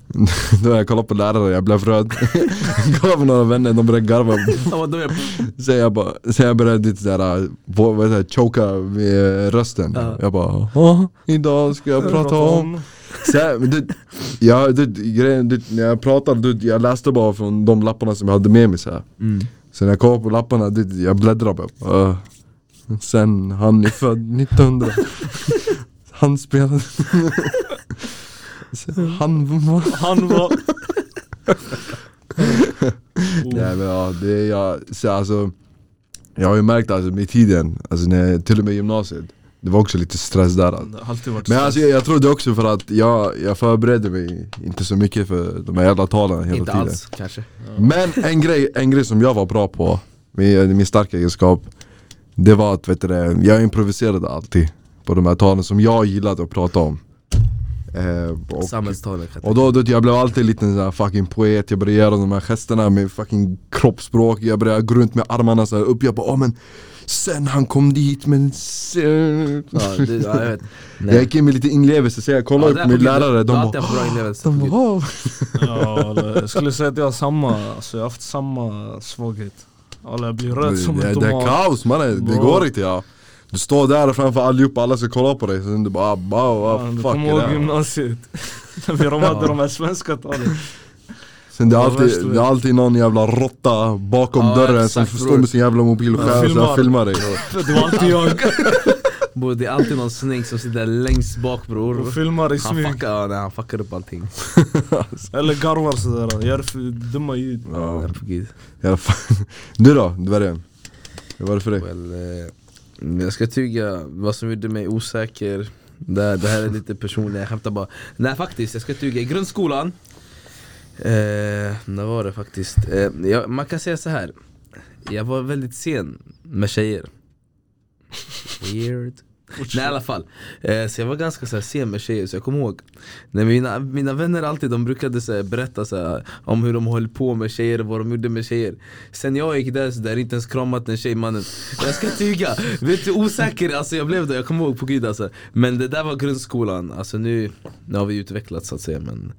[SPEAKER 1] [laughs] Då jag kollade på läraren, jag blev röd [laughs] Kollade på några vänner, de började garva
[SPEAKER 2] Ja, [laughs] vad då är det?
[SPEAKER 1] så jag, bara, så jag började lite såhär, vad vad heter det, choka med rösten
[SPEAKER 2] Ja.
[SPEAKER 1] Jag bara, "Ja, idag ska jag prata om [laughs] så här, men du, jag, du, grejen, du, När jag pratade, du, jag läste bara från de lapparna som jag hade med mig så här. Så när jag kollade på lapparna, du, jag bläddrade bara "Öh, Sen han är född [laughs] 1900 Han spelade [laughs] Så Han var
[SPEAKER 3] Han var...
[SPEAKER 1] Nej men ja, det är jag, så alltså Jag har ju märkt alltså med tiden, alltså när, till och med i gymnasiet Det var också lite stress där alltså.
[SPEAKER 3] Det har alltid varit
[SPEAKER 1] Men alltså jag, jag tror det också för att jag, jag förberedde mig inte så mycket för de här jävla talen hela
[SPEAKER 2] Inte
[SPEAKER 1] tiden
[SPEAKER 2] alls kanske.
[SPEAKER 1] Men en grej, en grej som jag var bra på, min, min starka egenskap Det var att vet du, det, jag improviserade alltid på de här talen som jag gillade att prata om eh, och
[SPEAKER 2] Samhällstalen.
[SPEAKER 1] och då, då jag blev alltid en liten sån här fucking poet, jag började göra de här gesterna med fucking kroppsspråk Jag började gå runt med armarna så här upp, jag bara åh men Sen han kom dit men sen...
[SPEAKER 2] Ja, det-
[SPEAKER 1] [laughs]
[SPEAKER 2] ja, jag vet. Nej.
[SPEAKER 1] Jag gick in med lite inlevelse så jag
[SPEAKER 2] Ja,
[SPEAKER 1] kollade
[SPEAKER 2] där
[SPEAKER 1] upp min
[SPEAKER 2] på Gud,
[SPEAKER 1] lärare,
[SPEAKER 2] du
[SPEAKER 1] de
[SPEAKER 2] har alltid
[SPEAKER 1] bara
[SPEAKER 2] haft bra inlevelse.
[SPEAKER 1] de
[SPEAKER 2] på
[SPEAKER 1] bara,
[SPEAKER 2] Gud. [laughs]
[SPEAKER 1] "Åh."
[SPEAKER 3] Ja, eller jag skulle säga att jag har samma, alltså jag har haft samma svaghet Alla jag blir röd som
[SPEAKER 1] det,
[SPEAKER 3] en
[SPEAKER 1] det är
[SPEAKER 3] tomat
[SPEAKER 1] kaos mannen, det
[SPEAKER 3] Bra.
[SPEAKER 1] går inte ja Du står där framför allihopa, alla ska kolla på dig, sen du bara ah, wow,
[SPEAKER 3] Ja,
[SPEAKER 1] wow,
[SPEAKER 3] Du
[SPEAKER 1] fuck
[SPEAKER 3] kommer
[SPEAKER 1] är det
[SPEAKER 3] ihåg
[SPEAKER 1] här?"
[SPEAKER 3] gymnasiet? [laughs] När de hade de här svenska talen
[SPEAKER 1] Sen det är,
[SPEAKER 3] Ja, värst,
[SPEAKER 1] alltid,
[SPEAKER 3] vet
[SPEAKER 1] det är alltid någon jävla råtta bakom
[SPEAKER 2] Ja,
[SPEAKER 1] dörren
[SPEAKER 2] exakt,
[SPEAKER 1] som
[SPEAKER 2] bror.
[SPEAKER 1] står med sin jävla mobil och
[SPEAKER 3] Ja,
[SPEAKER 1] skär, så här,
[SPEAKER 3] filmar.
[SPEAKER 1] filmar dig
[SPEAKER 3] Det var alltid jag
[SPEAKER 2] Bror, Det är alltid någon snygg som sitter längst bak bror.
[SPEAKER 3] och filmar i
[SPEAKER 2] Han
[SPEAKER 3] smyg
[SPEAKER 2] fuckar, ja, nej, han fuckar upp allting.
[SPEAKER 3] Eller garvar sådär, gör för dumma ljud
[SPEAKER 1] Ja.
[SPEAKER 2] Ja, på Gud.
[SPEAKER 1] I alla fall. [laughs] Du då, dvärgen? Hur var det för dig?
[SPEAKER 2] Well, eh, men jag ska tyga vad som gjorde mig osäker det, det här är lite personligt, jag skämtar bara Nej faktiskt, jag ska tyga, i grundskolan eh, När var det faktiskt? Eh, jag, man kan säga så här Jag var väldigt sen med tjejer Weird Nej i alla fall, eh, så jag var ganska så här, sen med tjejer så jag kommer ihåg när mina, mina vänner alltid de brukade så här, berätta så här, om hur de höll på med tjejer och vad de gjorde med tjejer Sen jag gick där så där inte ens kramat en tjej mannen Jag ska tyga, vet du osäker alltså jag blev det, jag kommer ihåg på gud alltså Men det där var grundskolan, alltså nu, nu har vi utvecklats så att säga men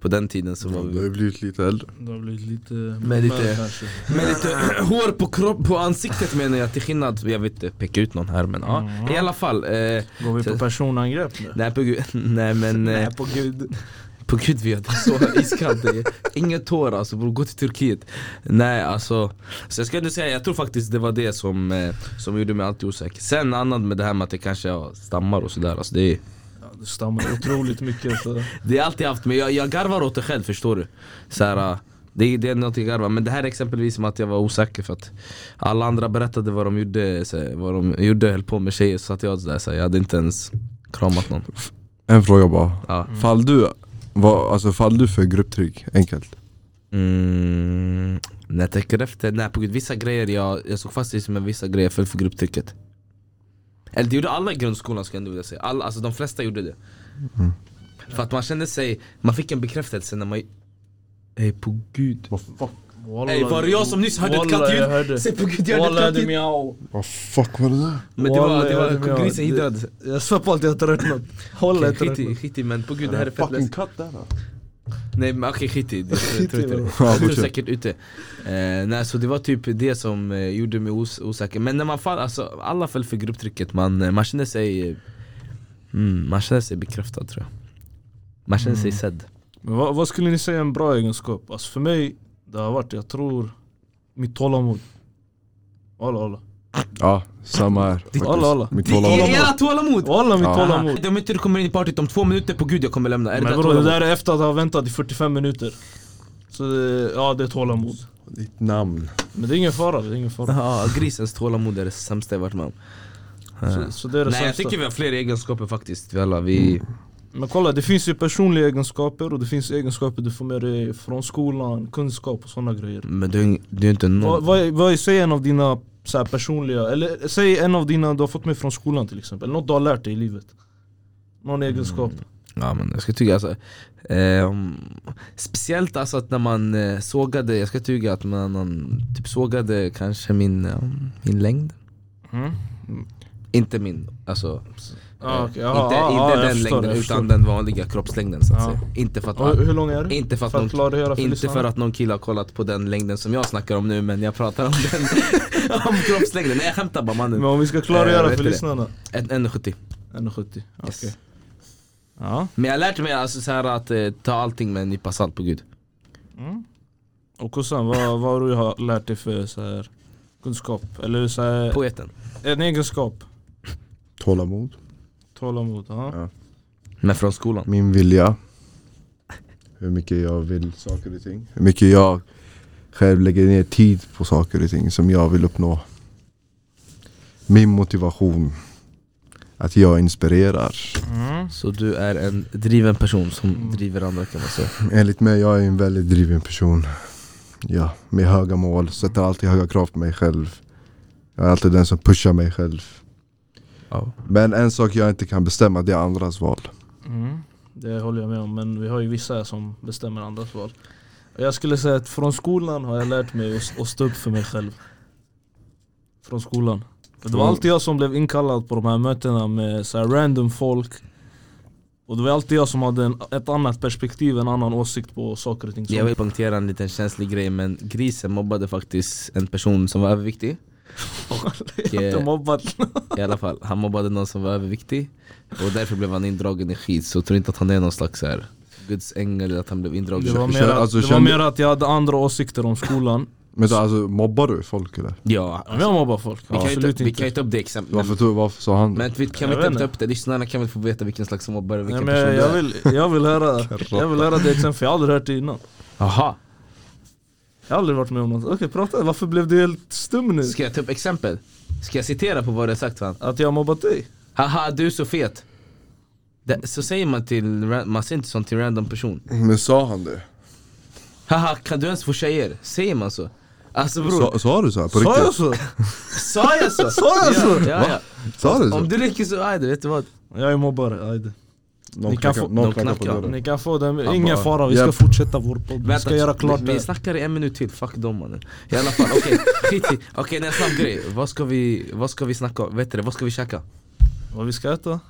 [SPEAKER 2] på den tiden så var
[SPEAKER 1] Du har
[SPEAKER 2] vi
[SPEAKER 1] ju blivit lite äldre
[SPEAKER 3] Det har blivit lite...
[SPEAKER 2] Med lite-
[SPEAKER 3] mer kanske.
[SPEAKER 2] Med lite [clears throat] hår på, kropp, på ansiktet menar jag till skillnad, jag vet inte peka ut någon här men ja I alla fall, eh,
[SPEAKER 3] Går vi på personangrepp nu?
[SPEAKER 2] nej på gud, [laughs] nej men eh,
[SPEAKER 3] på gud
[SPEAKER 2] På gud vi hade så iskallt, det är inget hår alltså bror, gå till Turkiet Nej alltså, så jag ska ändå säga, jag tror faktiskt det var det som, eh, som gjorde mig alltid osäker Sen annat med det här med att jag kanske ja, stammar och sådär alltså, det, är-
[SPEAKER 3] ja, Du stammar otroligt mycket så.
[SPEAKER 2] det har jag alltid haft, men jag, jag garvar åt det själv förstår du så här, eh, det, är- det är något jag garvar, men det här är exempelvis som att jag var osäker för att Alla andra berättade vad de gjorde, så, här, vad de gjorde höll på med tjejer så satt jag sådär så här, jag hade inte ens kramat någon
[SPEAKER 1] En fråga bara
[SPEAKER 2] ja.
[SPEAKER 1] Fall du, var, alltså fall du för grupptryck? Enkelt
[SPEAKER 2] Mm, när jag tänker efter, nej på gud, vissa grejer jag, jag såg fast i men vissa grejer föll för grupptrycket Eller det gjorde alla i grundskolan ska jag ändå vilja säga, alla, alltså de flesta gjorde det För att man kände sig, man fick en bekräftelse när man
[SPEAKER 7] Ey på gud.
[SPEAKER 1] Vad fuck?
[SPEAKER 3] Wallah,
[SPEAKER 2] Ej var det jag som nyss hörde ett kattljud? Se på gud jag hörde ett kattljud!
[SPEAKER 3] kattljud!
[SPEAKER 1] Vad fuck var det där?
[SPEAKER 2] Men det
[SPEAKER 3] Wallah,
[SPEAKER 2] var, det
[SPEAKER 3] jag hörde
[SPEAKER 2] var
[SPEAKER 3] mjau.
[SPEAKER 2] grisen hittade.
[SPEAKER 3] Jag svär på allt jag har tröttnat. Hålla jag
[SPEAKER 2] Okej, Skit i,
[SPEAKER 3] tröttnat.
[SPEAKER 2] skit i men på gud det
[SPEAKER 1] Det
[SPEAKER 2] här är fett
[SPEAKER 1] fucking
[SPEAKER 2] läskigt.
[SPEAKER 1] katt där då.
[SPEAKER 2] Nej men okej skit i det.
[SPEAKER 3] Skit i
[SPEAKER 2] Jag tror inte
[SPEAKER 3] det.
[SPEAKER 2] det.
[SPEAKER 1] Ja,
[SPEAKER 2] Du är
[SPEAKER 1] då kör.
[SPEAKER 2] säkert ute. Eh, nej så det var typ det som eh, gjorde mig os osäker. Men när man fall, alltså alla föll för grupptrycket. Man, eh, man kände sig eh, mm, man kände sig bekräftad tror jag. Man kände
[SPEAKER 3] Mm.
[SPEAKER 2] sig sedd.
[SPEAKER 3] Men vad, vad skulle ni säga är en bra egenskap? Alltså för mig, det har varit, jag tror, mitt tålamod. Walla walla.
[SPEAKER 1] Ja, samma här. faktiskt.
[SPEAKER 3] alla, alla.
[SPEAKER 1] Mitt
[SPEAKER 2] Det är
[SPEAKER 1] tålamod.
[SPEAKER 2] era tålamod!
[SPEAKER 3] Walla mitt
[SPEAKER 1] Ja.
[SPEAKER 3] tålamod.
[SPEAKER 2] Aha, Om inte du kommer in i partyt om två minuter, på gud jag kommer lämna. Är det
[SPEAKER 3] Men
[SPEAKER 2] där
[SPEAKER 3] bror det
[SPEAKER 2] tålamod?
[SPEAKER 3] där är efter att ha väntat i 45 minuter. Så det, ja det är tålamod.
[SPEAKER 1] Ditt namn.
[SPEAKER 3] Men det är ingen fara, det är ingen fara.
[SPEAKER 2] Ja, grisens tålamod är det sämsta jag varit med om.
[SPEAKER 3] Så, så det är det
[SPEAKER 2] Nej jag
[SPEAKER 3] sämsta. Mm.
[SPEAKER 2] tycker vi har fler egenskaper faktiskt. Vi alla, vi...
[SPEAKER 3] Men kolla, det finns ju personliga egenskaper och det finns egenskaper du får med dig från skolan, kunskap och sådana grejer.
[SPEAKER 2] Men du är ing- du är inte
[SPEAKER 3] Vad,
[SPEAKER 2] någon...
[SPEAKER 3] vad, är- vad är, säg en av dina så här, personliga, eller säg en av dina du har fått med från skolan till exempel, något du har lärt dig i livet. Någon egenskap.
[SPEAKER 2] Ja men jag ska tycka alltså, ehm, Speciellt alltså att när man eh, sågade, jag ska tycka att man, man typ sågade kanske min, ja, min längd
[SPEAKER 3] Mm.
[SPEAKER 2] Inte min, alltså
[SPEAKER 3] Ah,
[SPEAKER 2] eh,
[SPEAKER 3] okej. Ja,
[SPEAKER 2] Inte,
[SPEAKER 3] ja,
[SPEAKER 2] inte
[SPEAKER 3] ja, jag
[SPEAKER 2] den
[SPEAKER 3] förstår,
[SPEAKER 2] längden
[SPEAKER 3] jag förstår.
[SPEAKER 2] utan den vanliga kroppslängden så att
[SPEAKER 3] Ja.
[SPEAKER 2] säga Inte för att,
[SPEAKER 3] Och hur lång är du?
[SPEAKER 2] inte för att,
[SPEAKER 3] För att
[SPEAKER 2] någon,
[SPEAKER 3] klargöra för
[SPEAKER 2] inte
[SPEAKER 3] lyssnarna.
[SPEAKER 2] för att någon kille har kollat på den längden som jag snackar om nu men jag pratar om den [laughs] Om kroppslängden, nej jag skämtar bara
[SPEAKER 3] Men
[SPEAKER 2] mannen
[SPEAKER 3] om vi ska
[SPEAKER 2] Eh,
[SPEAKER 3] klargöra
[SPEAKER 2] vet
[SPEAKER 3] för
[SPEAKER 2] du det?
[SPEAKER 3] lyssnarna.
[SPEAKER 2] En- 1,70
[SPEAKER 3] 1,70.
[SPEAKER 2] Yes.
[SPEAKER 3] Okej. Ja.
[SPEAKER 2] Men jag har lärt mig alltså, så här att eh, ta allting med en nypa salt på gud
[SPEAKER 3] Och Kossan, vad, vad har du har lärt dig för så här, kunskap? Eller så här,
[SPEAKER 2] Poeten
[SPEAKER 3] en egenskap?
[SPEAKER 1] Tålamod.
[SPEAKER 3] Tålamod. Ja.
[SPEAKER 2] Men från skolan
[SPEAKER 1] Min vilja. Hur mycket jag vill saker och ting. Hur mycket jag själv lägger ner tid på saker och ting som jag vill uppnå. Min motivation. Att jag inspirerar.
[SPEAKER 2] Så du är en driven person som
[SPEAKER 3] Mm.
[SPEAKER 2] driver andra kan man
[SPEAKER 3] [laughs]
[SPEAKER 2] säga
[SPEAKER 1] Enligt mig, jag är en väldigt driven person. Ja, med höga mål. Sätter alltid höga krav på mig själv. Jag är alltid den som pushar mig själv.
[SPEAKER 2] ja.
[SPEAKER 1] Men en sak jag inte kan bestämma, det är andras val.
[SPEAKER 3] Mm, det håller jag med om, men vi har ju vissa som bestämmer andras val. Och Jag skulle säga att från skolan har jag lärt mig att, att stå upp för mig själv. Från skolan. För
[SPEAKER 2] Mm.
[SPEAKER 3] det var alltid jag som blev inkallad på de här mötena med så här random folk. Och det var alltid jag som hade en, ett annat perspektiv, en annan åsikt på saker och ting.
[SPEAKER 2] Jag
[SPEAKER 3] Som,
[SPEAKER 2] vill punktera en liten känslig grej men grisen mobbade faktiskt en person som var
[SPEAKER 3] [laughs]
[SPEAKER 2] överviktig Och,
[SPEAKER 3] jag
[SPEAKER 2] eh, [laughs]
[SPEAKER 3] mobbat.
[SPEAKER 2] I alla fall, han mobbade någon som var överviktig Och därför blev han indragen i skit så tror inte att han är någon slags så här Guds ängel eller att han blev
[SPEAKER 3] Det
[SPEAKER 2] indragen
[SPEAKER 3] var mer
[SPEAKER 1] kände-
[SPEAKER 3] att,
[SPEAKER 1] alltså,
[SPEAKER 3] det var
[SPEAKER 1] kände-
[SPEAKER 3] mer att jag hade andra åsikter om skolan.
[SPEAKER 1] Men så, alltså, mobbar du folk eller?
[SPEAKER 2] Ja,
[SPEAKER 3] Men jag mobbar folk,
[SPEAKER 2] vi kan, ju
[SPEAKER 3] absolut
[SPEAKER 2] ta, vi
[SPEAKER 3] inte.
[SPEAKER 2] kan ju ta upp det exemplet
[SPEAKER 1] Varför, tog, varför sa han det?
[SPEAKER 2] Men vi kan
[SPEAKER 3] Jag
[SPEAKER 2] vi
[SPEAKER 3] vet
[SPEAKER 2] inte ta
[SPEAKER 3] inte.
[SPEAKER 2] upp det? Lyssnarna kan väl få veta vilken slags mobbare,
[SPEAKER 3] Nej,
[SPEAKER 2] vilken
[SPEAKER 3] men
[SPEAKER 2] person
[SPEAKER 3] jag,
[SPEAKER 2] du
[SPEAKER 3] jag,
[SPEAKER 2] är?
[SPEAKER 3] vill, jag, vill höra, jag vill höra det exemplet, för jag har aldrig hört det innan.
[SPEAKER 2] Jaha,
[SPEAKER 3] Jag har aldrig varit med om något. Okej, prata. Varför blev du helt stum nu?
[SPEAKER 2] ska jag ta upp exempel? Ska jag citera på vad du har sagt för han?
[SPEAKER 3] Att jag har mobbat dig?
[SPEAKER 2] Haha du är så fet det, Så säger man till, ra- man säger inte sånt till random person
[SPEAKER 1] Men sa han det?
[SPEAKER 2] Haha kan du ens få tjejer? Säger man så? Alltså bror,
[SPEAKER 1] Sa, sa du så här på
[SPEAKER 3] Sa jag
[SPEAKER 1] riktigt?
[SPEAKER 3] så?
[SPEAKER 2] sa jag så?
[SPEAKER 3] [laughs] Sa jag så?
[SPEAKER 2] Ja, ja,
[SPEAKER 1] Sa du
[SPEAKER 2] ja. Om
[SPEAKER 1] så?
[SPEAKER 2] du leker så, aj, du vet du vad?
[SPEAKER 3] Jag är mobbare, ajde.
[SPEAKER 1] Någon
[SPEAKER 3] Ni kan
[SPEAKER 1] knackar-
[SPEAKER 3] få-
[SPEAKER 1] någon
[SPEAKER 2] de
[SPEAKER 1] knackar på
[SPEAKER 2] knackar.
[SPEAKER 1] dörren.
[SPEAKER 3] Ni kan få den,
[SPEAKER 1] Han
[SPEAKER 3] ingen
[SPEAKER 1] bara,
[SPEAKER 3] fara. Vi ska
[SPEAKER 1] japp.
[SPEAKER 3] fortsätta vår podd. Vi
[SPEAKER 2] Vänta,
[SPEAKER 3] ska göra klart
[SPEAKER 2] vi,
[SPEAKER 3] det.
[SPEAKER 2] vi snackar i en minut till, fuck dem mannen I alla fall,
[SPEAKER 3] [laughs]
[SPEAKER 2] okej, skit i, okej okay, en snabb grej vad ska, vi, vad ska vi snacka om? Vet du det, vad ska vi käka?
[SPEAKER 3] Vad vi ska äta?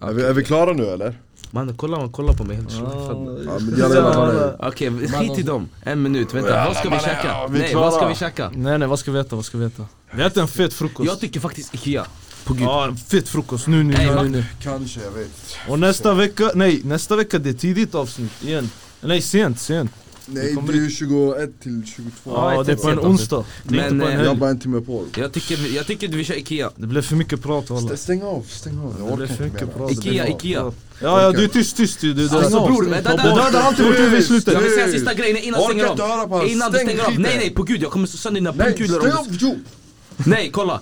[SPEAKER 1] Är, vi, är vi klara nu eller?
[SPEAKER 2] Mannen kolla, man kollar på mig helt chockad
[SPEAKER 1] Ja, men jag lever bara nu.
[SPEAKER 2] Okej, skit i dem, en minut, vänta, vad ska vi käka? Nej, vad ska vi käka?
[SPEAKER 3] Nej nej, vad ska vi äta? Vad ska vi äta? Vi äter en fet frukost.
[SPEAKER 2] Jag tycker faktiskt Ikea, på gud
[SPEAKER 3] Ja, en fet frukost. Nu, nu,
[SPEAKER 2] Nej,
[SPEAKER 3] nu,
[SPEAKER 2] va?
[SPEAKER 3] nu, nu.
[SPEAKER 1] Kanske, jag vet
[SPEAKER 3] Och nästa vecka, nej nästa vecka det är tidigt avsnitt igen. Nej sent, sent.
[SPEAKER 1] Nej
[SPEAKER 3] kommer
[SPEAKER 1] det är ju 21 till 22
[SPEAKER 3] Ja,
[SPEAKER 2] jag
[SPEAKER 3] det är
[SPEAKER 2] tänkte
[SPEAKER 3] på
[SPEAKER 2] sent
[SPEAKER 3] en
[SPEAKER 2] avsnitt.
[SPEAKER 3] onsdag. Det är
[SPEAKER 2] Men,
[SPEAKER 3] inte på en
[SPEAKER 2] eh,
[SPEAKER 1] Jag har
[SPEAKER 3] helg.
[SPEAKER 1] bara en timme på
[SPEAKER 2] Jag tycker, jag tycker vi kör Ikea
[SPEAKER 3] Det blev för mycket prat walla.
[SPEAKER 1] St- Stäng av, stäng av, jag
[SPEAKER 3] Det blev
[SPEAKER 1] orkar
[SPEAKER 3] för
[SPEAKER 1] inte
[SPEAKER 3] mycket
[SPEAKER 1] mer
[SPEAKER 3] prat.
[SPEAKER 2] Ikea, Ikea
[SPEAKER 3] Ja ja, du är tyst, tyst du. du- du-
[SPEAKER 2] Alltså bror, vänta,
[SPEAKER 3] Ta
[SPEAKER 2] vänta,
[SPEAKER 3] bort-
[SPEAKER 2] vänta.
[SPEAKER 3] Det har alltid varit du i slutet.
[SPEAKER 2] Jag vill säga sista grejen innan du
[SPEAKER 1] Orkar
[SPEAKER 2] stänger
[SPEAKER 1] inte höra på
[SPEAKER 2] av.
[SPEAKER 1] han.
[SPEAKER 2] Innan du
[SPEAKER 1] Stäng
[SPEAKER 2] stänger av.
[SPEAKER 1] skiten.
[SPEAKER 2] Nej nej på gud jag kommer slå sönder dina
[SPEAKER 1] Nej,
[SPEAKER 2] pungkulor om
[SPEAKER 1] stäng av!
[SPEAKER 2] du...
[SPEAKER 1] Jo!
[SPEAKER 2] Nej kolla!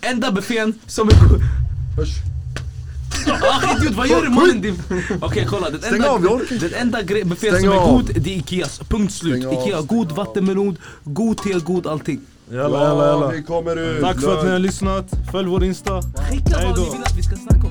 [SPEAKER 2] Enda buffén som är...
[SPEAKER 1] Hörs.
[SPEAKER 2] [laughs] Ah skit ut, vad gör du mannen? Det- Okej kolla, den
[SPEAKER 1] Stäng
[SPEAKER 2] enda,
[SPEAKER 1] av, jag orkar inte.
[SPEAKER 2] den enda gre- buffén
[SPEAKER 1] Stäng
[SPEAKER 2] som är
[SPEAKER 1] av.
[SPEAKER 2] god det är Ikeas. Punkt slut.
[SPEAKER 1] Stäng av,
[SPEAKER 2] Ikea, god vattenmelon, god te, god allting.
[SPEAKER 3] Jalla jalla
[SPEAKER 1] Ja,
[SPEAKER 3] jalla.
[SPEAKER 1] vi kommer ut!
[SPEAKER 3] Tack för att ni har
[SPEAKER 1] Lugnt.
[SPEAKER 3] lyssnat. Följ vår Insta.
[SPEAKER 2] Skicka vad
[SPEAKER 3] Hej då.
[SPEAKER 2] ni vill att vi ska snacka